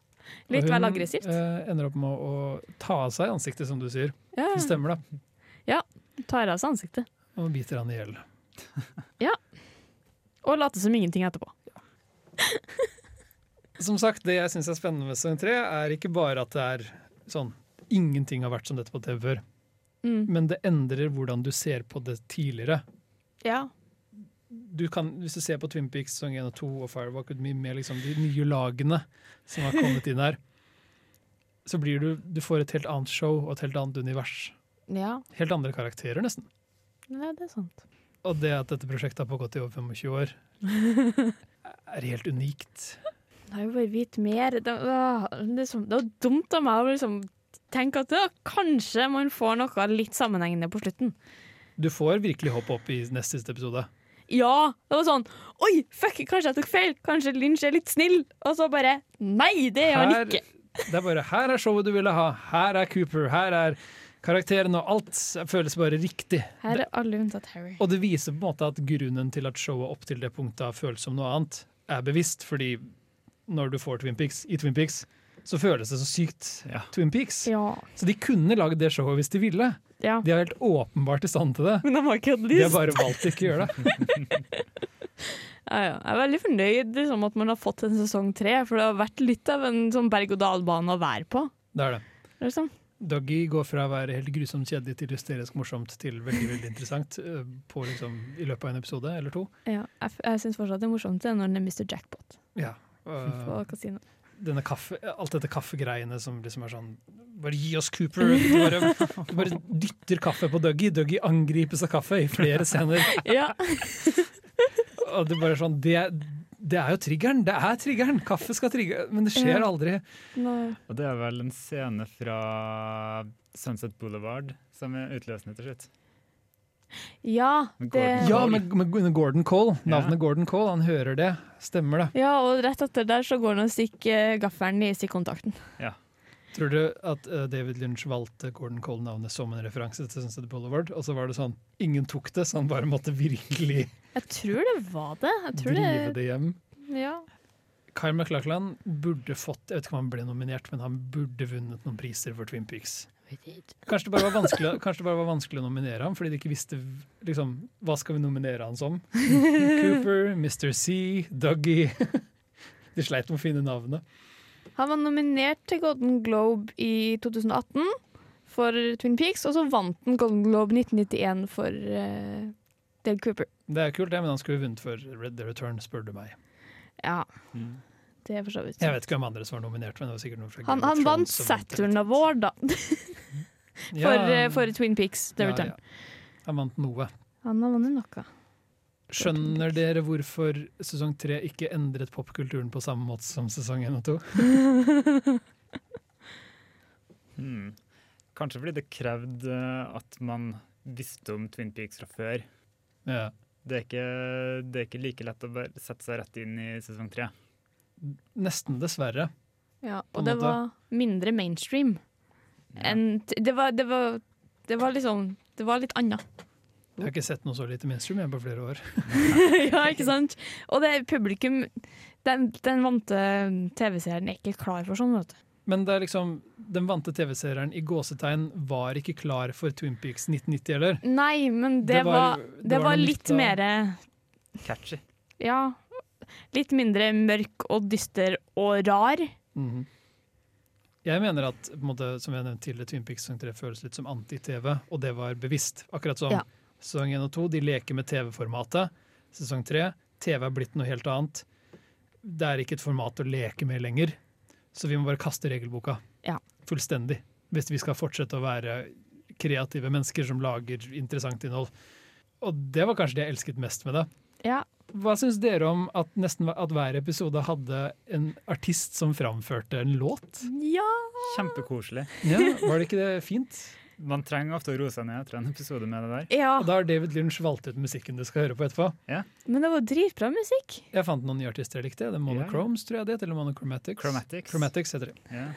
Speaker 2: litt
Speaker 1: Og hun,
Speaker 2: vel aggressivt.
Speaker 1: eh, ender opp med å ta av seg ansiktet, som du sier.
Speaker 2: Ja,
Speaker 1: Det stemmer, da.
Speaker 2: tar av seg ansiktet.
Speaker 1: Og biter han i hjel.
Speaker 2: Og later som ingenting etterpå.
Speaker 1: som sagt, det jeg syns er spennende med sesong tre, er ikke bare at det er sånn Ingenting har vært som dette på TV før.
Speaker 2: Mm.
Speaker 1: Men det endrer hvordan du ser på det tidligere.
Speaker 2: Ja.
Speaker 1: Du kan, hvis du ser på Twin Peaks sesong 1 og 2 og Firewalk With Me med liksom de nye lagene som har kommet inn her, så blir du, du får et helt annet show og et helt annet univers.
Speaker 2: ja.
Speaker 1: Helt andre karakterer, nesten.
Speaker 2: Nei, det er sant.
Speaker 1: Og det at dette prosjektet har pågått i over 25 år, er helt unikt.
Speaker 2: Jeg har jo bare vite mer. Det, åh, det, er som- det var dumt av meg å liksom tenke at ja, kanskje man får noe litt sammenhengende på slutten.
Speaker 1: Du får virkelig hoppe opp i nest siste episode.
Speaker 2: Ja! Det var sånn Oi, fuck, kanskje jeg tok feil! Kanskje Lynch er litt snill! Og så bare Nei, det er han
Speaker 1: Her
Speaker 2: ikke!
Speaker 1: Det er bare her er showet du ville ha, her er Cooper, her er karakteren, og alt føles bare riktig.
Speaker 5: Her er alle unntatt Harry.
Speaker 1: Og det viser på en måte at grunnen til at showet opp til det punktet har føles som noe annet, er bevisst, fordi når du får Twin Peaks i Twin Peaks, så føles det så sykt
Speaker 3: Ja.
Speaker 1: Twin Peaks.
Speaker 5: Ja.
Speaker 1: Så de kunne lagd det showet hvis de ville.
Speaker 5: ja.
Speaker 1: De er helt åpenbart i stand til det.
Speaker 2: Men han har ikke hatt
Speaker 1: De har
Speaker 2: lyst.
Speaker 1: bare valgt ikke å gjøre det.
Speaker 2: Ja, ja. Jeg er veldig fornøyd liksom, at man har fått en sesong tre, for det har vært litt av en sånn berg-og-dal-bane å være på.
Speaker 1: Det er det.
Speaker 2: Liksom.
Speaker 1: Doggy går fra å være helt grusomt kjedelig til hysterisk morsomt til veldig veldig interessant eh, på liksom, i løpet av en episode eller to.
Speaker 2: Ja, jeg f- jeg syns fortsatt det er morsomt det, når det er Mr. Jackpot
Speaker 1: Ja.
Speaker 2: på
Speaker 1: eh, (laughs)
Speaker 2: kasino.
Speaker 1: denne kaffe, alt dette kaffegreiene som liksom er sånn Bare gi oss Cooper! Du bare, du bare dytter kaffe på Dougie. Dougie angripes av kaffe i flere scener.
Speaker 2: Ja.
Speaker 1: Og det, er bare sånn, det, det er jo triggeren! Det er triggeren! Kaffe skal trigge, men det skjer
Speaker 2: Ja.
Speaker 1: aldri.
Speaker 2: Nå-
Speaker 3: Og det er vel en scene fra Sunset Boulevard som er utløsende til slutt.
Speaker 2: ja,
Speaker 3: Men
Speaker 2: det
Speaker 3: går
Speaker 1: Ja, med, med Gordon Cole. Navnet Gordon Cole, han hører det. Stemmer det.
Speaker 2: Ja, og rett etter der så går han og stikker eh, gaffelen i stikkontakten.
Speaker 1: Tror du at eh, David Lynch valgte Gordon Cole-navnet som en referanse til Sunset Boulevard? Og så var det sånn, ingen tok det, så han bare måtte virkelig
Speaker 2: (laughs) Jeg tror det var det. Jeg tror
Speaker 1: drive det hjem.
Speaker 2: det ja.
Speaker 1: Kyle MacLachlan burde fått Jeg vet ikke om han ble nominert, men han burde vunnet noen priser for Twin Peaks. Kanskje det bare var vanskelig, kanskje det bare var vanskelig å nominere ham, fordi de ikke visste liksom, hva skal vi nominere han
Speaker 2: (laughs)
Speaker 1: som. Cooper, Mr. C, Dougie (laughs) De sleit med å finne navnet.
Speaker 2: Han var nominert til Golden Globe i 2018 for Twin Peaks, og så vant han Golden Globe 1991 for eh, Dale Cooper.
Speaker 1: Det er kult, det, men han skulle vunnet for Red The Return, spør du meg.
Speaker 2: Ja,
Speaker 3: Mm.
Speaker 2: det er for så vidt
Speaker 1: Jeg vet ikke hvem andre som var nominert, men det var sikkert noen fra
Speaker 2: Han,
Speaker 1: Game of
Speaker 2: han vant
Speaker 1: Thrones som vant
Speaker 2: Saturn Award, da,
Speaker 1: det.
Speaker 2: for,
Speaker 1: Ja,
Speaker 2: eh, for Twin Peaks. The
Speaker 1: ja,
Speaker 2: Return.
Speaker 1: ja. Han vant noe.
Speaker 2: Han har vunnet noe.
Speaker 1: Skjønner dere hvorfor sesong tre ikke endret popkulturen på samme måte som sesong én og to?
Speaker 3: Mm. Kanskje fordi det krevde eh, at man visste om Twin Peaks fra før.
Speaker 1: Ja.
Speaker 3: Det er ikke, det er ikke like lett å bare sette seg rett inn i sesong tre.
Speaker 1: Nesten, dessverre.
Speaker 2: Ja,
Speaker 1: På en
Speaker 2: og det
Speaker 1: måte.
Speaker 2: var mindre mainstream. enn t- det, var, det, var, det var liksom Det var litt
Speaker 1: (laughs)
Speaker 2: anna.
Speaker 1: Jeg har ikke sett noe så lite mainstream jeg på flere år.
Speaker 2: (laughs) ja, ikke sant? Og det er publikum Den, den vante TV-serien er ikke klar for sånn, vet du.
Speaker 1: Men det er liksom, den vante TV-sereren i gåsetegn var ikke klar for Twin Peaks 1990 heller.
Speaker 2: Nei, men
Speaker 1: Det
Speaker 2: det,
Speaker 1: var-
Speaker 2: var,
Speaker 1: det
Speaker 2: det
Speaker 1: var
Speaker 2: var,
Speaker 1: noe nytt
Speaker 2: litt
Speaker 1: da.
Speaker 2: mer
Speaker 3: Catchy.
Speaker 2: Ja. Litt mindre mørk og dyster og rar.
Speaker 1: Jeg mener at på en måte, som jeg nevnte tidligere, Twin Peaks sesong 3 føles litt som anti-TV, og det var bevisst. Akkurat som
Speaker 2: Ja.
Speaker 1: sesong 1 og 2, de leker med TV-formatet. Sesong 3, TV er blitt noe helt annet. Det er ikke et format å leke med lenger, så vi må bare kaste regelboka.
Speaker 2: Ja.
Speaker 1: Fullstendig. Hvis vi skal fortsette å være kreative mennesker som lager interessant innhold. Og det var kanskje det jeg elsket mest med det.
Speaker 2: Ja.
Speaker 1: Hva syns dere om at, nesten, at hver episode hadde en artist som framførte en låt?
Speaker 2: ja.
Speaker 3: Kjempekoselig.
Speaker 1: Ja, Var det ikke det fint?
Speaker 3: Man trenger ofte å roe seg ned etter en episode med det der.
Speaker 1: Og da har David Lynch valgt ut musikken du skal høre på etterpå.
Speaker 2: Men det var dritbra musikk.
Speaker 1: Jeg fant noen nye artister jeg likte. Det er Monochromes, tror jeg det heter. Eller Monochromatics.
Speaker 3: Chromatics.
Speaker 1: Chromatics heter de.
Speaker 3: Ja.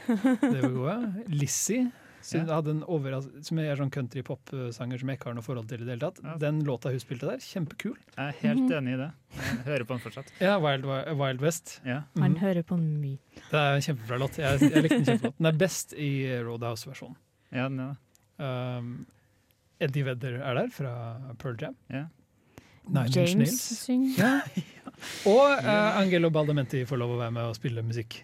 Speaker 1: Det var gode. Lizzie, som,
Speaker 3: Ja.
Speaker 1: hadde en overras som er sånn country-pop-sanger som jeg ikke har noe forhold til i det hele tatt.
Speaker 3: Ja.
Speaker 1: Den låta hun spilte der, kjempekul.
Speaker 3: Jeg er helt enig i det. Jeg hører på den fortsatt.
Speaker 1: Ja, Wild, Wild West.
Speaker 3: Ja.
Speaker 2: Han
Speaker 1: Mhm.
Speaker 2: hører på mye.
Speaker 1: Det er en kjempebra låt. Jeg, jeg likte den kjempegodt. Den er best i Roadhouse-versjonen.
Speaker 3: Ja, den er det.
Speaker 1: Um, Eddie Vedder er der, fra Pearl Jam.
Speaker 3: Ja.
Speaker 1: Nine Inch
Speaker 2: James
Speaker 1: Nails.
Speaker 2: synger.
Speaker 1: Ja. Og eh, Angelo Baldamenti får lov å være med og spille musikk.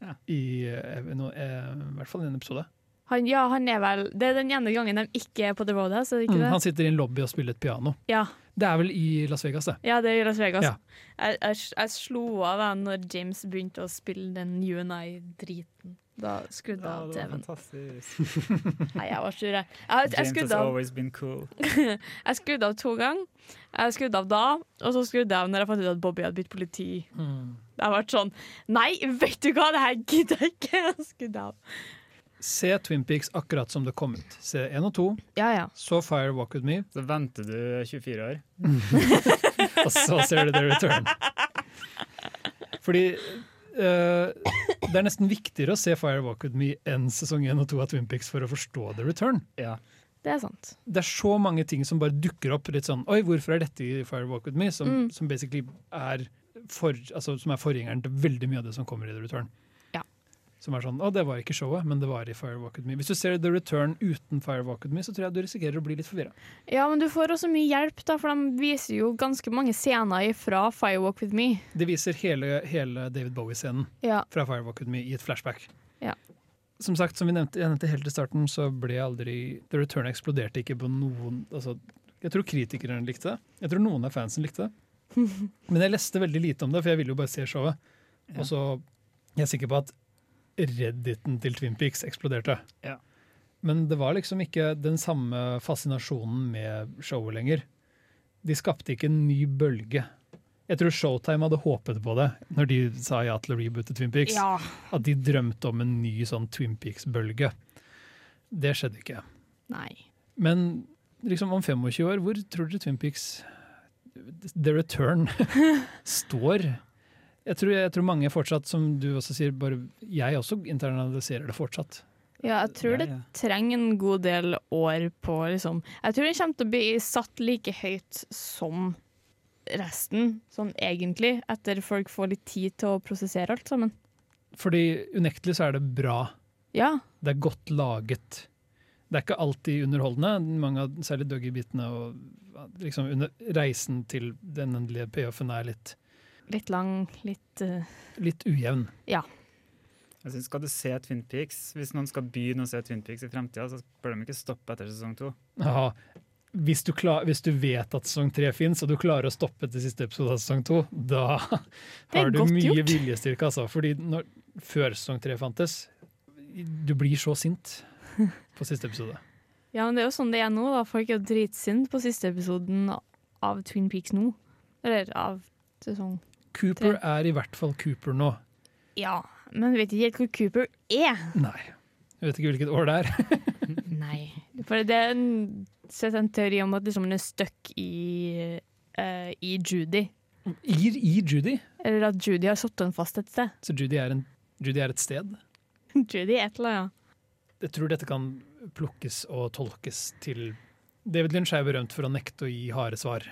Speaker 3: Ja.
Speaker 1: I, eh, no, eh, I hvert fall i en episode.
Speaker 2: Han, ja, han er vel Det er den ene gangen de ikke er på The Roadhouse, er det ikke
Speaker 1: Mm,
Speaker 2: det?
Speaker 1: han sitter i en lobby og spiller et piano.
Speaker 2: Ja.
Speaker 1: Det er vel i Las Vegas, det.
Speaker 2: Ja, det er i Las Vegas.
Speaker 1: Ja.
Speaker 2: Jeg, jeg, jeg slo av jeg, når James begynte å spille den You and I-driten. Da skrudde jeg av TV-en.
Speaker 3: fantastisk.
Speaker 2: Nei, jeg var sur, jeg. Jeg, jeg,
Speaker 3: James has
Speaker 2: skrudde av,
Speaker 3: always been cool.
Speaker 2: jeg skrudde av to ganger. Jeg skrudde av da, og så skrudde jeg av når jeg fant ut at Bobby hadde blitt politi.
Speaker 3: Mm.
Speaker 2: Jeg ble sånn Nei, vet du hva, det her gidder jeg ikke! Jeg skrudde av.
Speaker 1: Se Twin Peaks akkurat som det kom ut. Se 1 og 2,
Speaker 2: Ja, ja.
Speaker 1: så Fire Walk With Me,
Speaker 3: Så venter du 24 år.
Speaker 1: og så ser du The Return. Fordi eh, det er nesten viktigere å se Fire Walk With Me enn sesong 1 og 2 av Twin Peaks for å forstå The Return.
Speaker 3: Ja.
Speaker 2: Det er sant.
Speaker 1: Det er så mange ting som bare dukker opp litt sånn Oi, hvorfor er dette i Fire Walk With Me? Som,
Speaker 2: Mm.
Speaker 1: som basically er, for, altså, som er forgjengeren til veldig mye av det som kommer i The Return.
Speaker 2: Ja.
Speaker 1: Som er sånn Å, det var ikke showet, men det var i Fire Walk With Me. Hvis du ser The Return uten Fire Walk With Me, så tror jeg du risikerer å bli litt forvirra.
Speaker 2: Ja, men du får også mye hjelp, da, for de viser jo ganske mange scener fra Firewalk With Me.
Speaker 1: Det viser hele, hele David Bowie-scenen.
Speaker 2: Ja.
Speaker 1: fra Firewalk With Me i et flashback.
Speaker 2: Ja.
Speaker 1: Som sagt, som vi nevnte, jeg nevnte helt til starten, så ble aldri The Return eksploderte ikke på noen altså, Jeg tror kritikerne likte det. Jeg tror noen av fansen likte
Speaker 3: (laughs)
Speaker 1: det. Men jeg leste veldig lite om det, for jeg ville jo bare se showet.
Speaker 3: Ja.
Speaker 1: Og så jeg er sikker på at redditen til Twin Peaks eksploderte.
Speaker 3: Ja.
Speaker 1: Men det var liksom ikke den samme fascinasjonen med showet lenger. De skapte ikke en ny bølge. Jeg tror Showtime hadde håpet på det når de sa ja til å reboote Twin Peaks. At de drømte om en ny sånn Twin Peaks-bølge. Det skjedde ikke.
Speaker 2: Nei.
Speaker 1: Men liksom om 25 år, hvor tror dere Twin Peaks The Return står? Jeg tror, jeg tror mange fortsatt, som du også sier, bare jeg også internaliserer det fortsatt.
Speaker 2: Ja, jeg tror
Speaker 3: Ja,
Speaker 2: det
Speaker 3: ja.
Speaker 2: trenger en god del år på liksom Jeg tror den kommer til å bli satt like høyt som resten, sånn egentlig, etter folk får litt tid til å prosessere alt sammen.
Speaker 1: Fordi unektelig så er det bra.
Speaker 2: Ja.
Speaker 1: Det er godt laget. Det er ikke alltid underholdende. Mange av særlig Dougie-bitene og liksom under reisen til den endelige payoffen er litt,
Speaker 2: Litt lang, litt eh,
Speaker 1: litt ujevn.
Speaker 3: Jeg synes, skal du se Twin Peaks, Hvis noen skal begynne å se Twin Peaks i fremtiden, så bør de ikke stoppe etter sesong to.
Speaker 1: Aha. Hvis du, klar, hvis du vet at sesong tre fins, og du klarer å stoppe til siste episode av sesong to, da (laughs)
Speaker 2: er
Speaker 1: har du
Speaker 2: godt
Speaker 1: mye
Speaker 2: gjort.
Speaker 1: viljestyrke. Altså. Fordi når, før sesong tre fantes, du blir så sint på siste episode.
Speaker 2: Ja, men det er jo sånn det er nå, da. Folk er jo dritsinte på siste episoden av Twin Peaks nå. Eller av sesong
Speaker 1: Cooper er i hvert fall Cooper nå.
Speaker 2: Ja, men vet ikke helt hvor Cooper er.
Speaker 1: (laughs) Nei. Jeg vet ikke hvilket år det er. (laughs)
Speaker 2: Nei. For det er en, sett en teori om at liksom hun er stuck i, eh, i Judy.
Speaker 1: I, i Judy.
Speaker 2: Eller at Judy har satt henne fast et sted.
Speaker 1: Så Judy er, en, Judy er et sted.
Speaker 2: (laughs) Judy er et eller annet.
Speaker 1: Jeg tror dette kan plukkes og tolkes til David Lynch er berømt for å nekte å gi harde svar.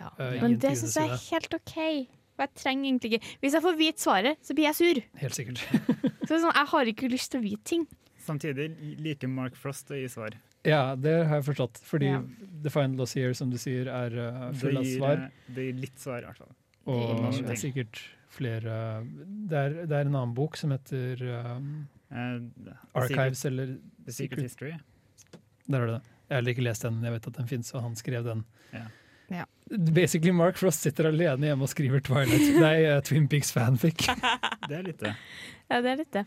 Speaker 2: Ja.
Speaker 1: eh, i
Speaker 2: Men det
Speaker 1: intervjuene
Speaker 2: syns jeg er
Speaker 1: sine.
Speaker 2: helt OK. For jeg trenger egentlig ikke Hvis jeg får vite svaret, så blir jeg sur.
Speaker 1: Helt sikkert.
Speaker 2: Så det er sånn, Jeg har ikke lyst til å vite ting.
Speaker 3: Samtidig liker Mark Frost å gi svar.
Speaker 1: Ja, det har jeg forstått. Fordi
Speaker 2: Ja.
Speaker 1: The Final Loss Year, som du sier, er uh,
Speaker 3: Det
Speaker 1: full av
Speaker 3: gir, eh,
Speaker 1: svar.
Speaker 3: det gir litt svar, i hvert fall.
Speaker 1: Og
Speaker 3: mange
Speaker 1: det er
Speaker 3: ting.
Speaker 1: sikkert flere det er, det er en annen bok som heter um,
Speaker 3: Eh,
Speaker 1: Archives, eller
Speaker 3: Secret, The Secret History.
Speaker 1: Der er det det. Jeg har ikke lest den, men jeg vet at den fins, og han skrev den.
Speaker 3: Ja.
Speaker 2: Ja.
Speaker 1: Basically Mark Frost sitter alene hjemme og skriver Twilight.
Speaker 2: (laughs)
Speaker 1: Nei, uh, Twin Peaks fanfic.
Speaker 3: Det er litt det.
Speaker 2: Ja, det er litt det.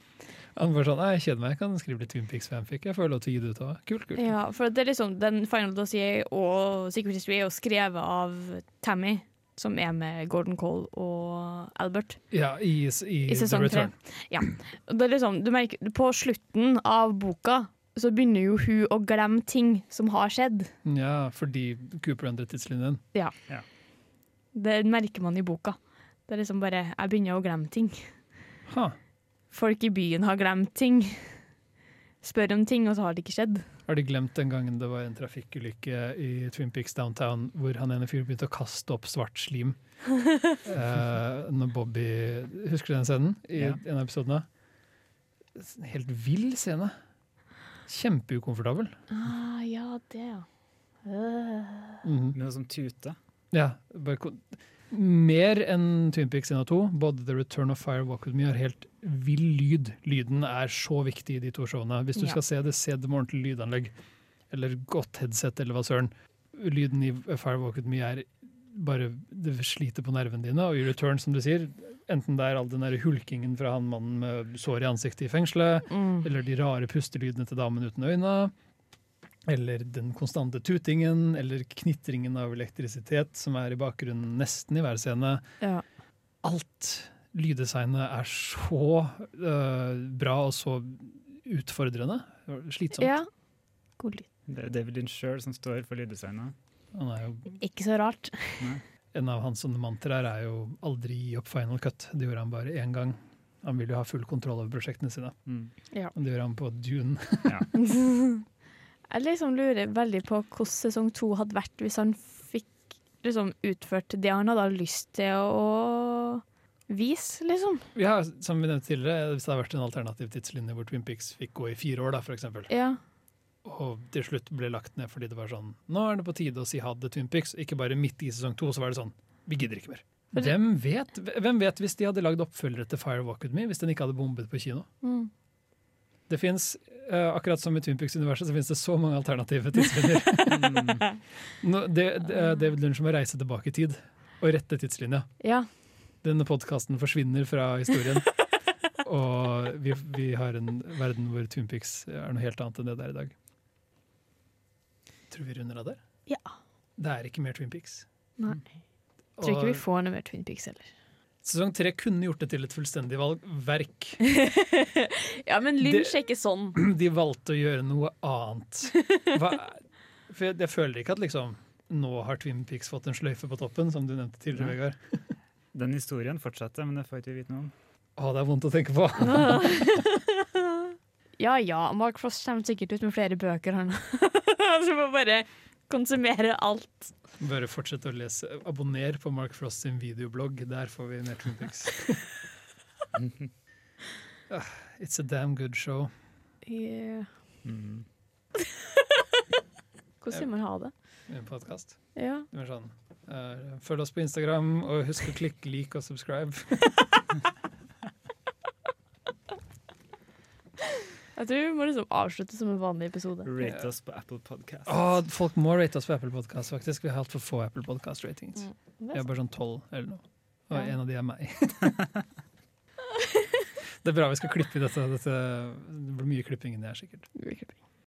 Speaker 1: Han bare sånn, «Nei, jeg kjeder meg, jeg kan skrive litt Twin Peaks fanfic. Jeg får lov til å gi det ut òg. Kult, kult.
Speaker 2: Ja, for det er liksom Den Final Dossier og Secret History er jo skrevet av Tammy, som er med Gordon Cole og Albert.
Speaker 1: Ja, i, s- i,
Speaker 2: I sesong
Speaker 1: The
Speaker 2: tre.
Speaker 1: Return.
Speaker 2: Og Det er liksom, du merker, på slutten av boka så begynner jo hun å glemme ting som har skjedd.
Speaker 1: Ja, fordi Cooper endret tidslinjen.
Speaker 2: Det merker man i boka. Det er liksom bare Jeg begynner å glemme ting.
Speaker 1: Ha.
Speaker 2: Folk i byen har glemt ting. Spør om ting, og så har det ikke skjedd.
Speaker 1: Har de glemt den gangen det var en trafikkulykke i Twin Peaks Downtown hvor han ene fyren begynte å kaste opp svart slim? Eh, når Bobby Husker du den scenen i
Speaker 3: Ja.
Speaker 1: en av episodene? S- Helt vill scene. Kjempeukomfortabel.
Speaker 2: Ah, ja, det, ja.
Speaker 1: Mhm.
Speaker 3: Noe som tute.
Speaker 1: Ja, bare ko- Mer enn Twin Peaks 1 og 2. Både The Return of Fire Walk With Me har helt vill lyd. Lyden er så viktig i de to showene. Hvis du
Speaker 2: Ja.
Speaker 1: skal se det, se det med ordentlig lydanlegg. Eller godt headset, eller hva søren. Lyden i Fire Walk With Me er bare Det sliter på nervene dine. Og i Return, som du sier, enten det er all den der hulkingen fra han mannen med sår i ansiktet i fengselet,
Speaker 2: Mm.
Speaker 1: eller de rare pustelydene til damen uten øyne. Eller den konstante tutingen, eller knitringen av elektrisitet som er i bakgrunnen nesten i hver scene.
Speaker 2: Ja.
Speaker 1: Alt lyddesignet er så øh, bra og så utfordrende. Slitsomt.
Speaker 2: ja. God lyd.
Speaker 3: Det er David Lynch sjøl som står for lyddesignet.
Speaker 1: Han er jo,
Speaker 2: Ikke så rart.
Speaker 1: en av hans sånne mantraer er jo 'aldri gi opp final cut'. Det gjorde han bare én gang. Han vil jo ha full kontroll over prosjektene sine.
Speaker 3: Mm.
Speaker 1: Og det gjør han på Dune. (laughs)
Speaker 2: Jeg liksom lurer veldig på hvordan sesong to hadde vært hvis han fikk liksom utført det han hadde lyst til å vise, liksom.
Speaker 1: Ja, som vi nevnte tidligere, Hvis det hadde vært en alternativ tidslinje hvor Twin Peaks fikk gå i fire år, da, for eksempel,
Speaker 2: Ja.
Speaker 1: og til slutt ble lagt ned fordi det var sånn Nå er det på tide å si ha det, Twin Peaks. Ikke bare midt i sesong to, så var det sånn Vi gidder ikke mer.
Speaker 2: Fordi-
Speaker 1: Hvem vet, hvem vet hvis de hadde lagd oppfølgere til Fire Walk With Me, hvis den ikke hadde bombet på kino?
Speaker 2: Mm.
Speaker 1: Det finnes, eh, akkurat som i Twin Peaks-universet, så finnes det så mange alternative tidslinjer.
Speaker 3: Mm.
Speaker 1: Nå, det, det, er David Lynch må reise tilbake i tid og rette tidslinja.
Speaker 2: ja.
Speaker 1: Denne podkasten forsvinner fra historien. Og vi, vi har en verden hvor Twin Peaks er noe helt annet enn det det er i dag. Tror vi runder av der?
Speaker 2: Ja.
Speaker 1: Det er ikke mer Twin Peaks.
Speaker 2: Nei.
Speaker 1: Og
Speaker 2: Tror ikke vi får noe mer Twin Peaks (laughs) heller.
Speaker 1: sesong tre kunne gjort det til et fullstendig valg verk.
Speaker 5: Ja, men Lynch er ikke sånn.
Speaker 1: (clears throat) De valgte å gjøre noe annet. Hva, for jeg, jeg føler ikke at liksom nå har Twin Peaks fått en sløyfe på toppen, som du nevnte tidligere,
Speaker 3: Nei.
Speaker 1: Vegard.
Speaker 3: Den historien fortsatte, men det får ikke vi vite noe om.
Speaker 1: Å, det er vondt å tenke på. (laughs)
Speaker 2: (laughs) Ja ja, Mark Frost kommer sikkert ut med flere bøker, (laughs) han. Så må bare konsumere alt.
Speaker 1: Bare fortsett å lese. Abonner på Mark Frost sin videoblogg. Der får vi mer Twin Peaks.
Speaker 3: Mm.
Speaker 1: Ah, It's a damn good show.
Speaker 2: Yeah.
Speaker 3: Mm.
Speaker 2: Hvordan vil man ha det?
Speaker 1: En podcast.
Speaker 2: Ja.
Speaker 1: Det er sånn. eh, følg oss på Instagram, og husk å klikke like og subscribe.
Speaker 2: Jeg tror vi må liksom avslutte som en vanlig episode.
Speaker 3: Rate oss på Apple Podcast.
Speaker 1: Å, Ah, folk må rate oss på Apple Podcast, faktisk. Vi har altfor få Apple Podcast-ratings. Vi har
Speaker 2: Det
Speaker 1: bare sånn tolv eller noe. Og
Speaker 2: Ja.
Speaker 1: en av de er meg. (laughs) Det er bra vi skal klippe i dette. dette det blir mye klipping inni her, sikkert.
Speaker 2: er-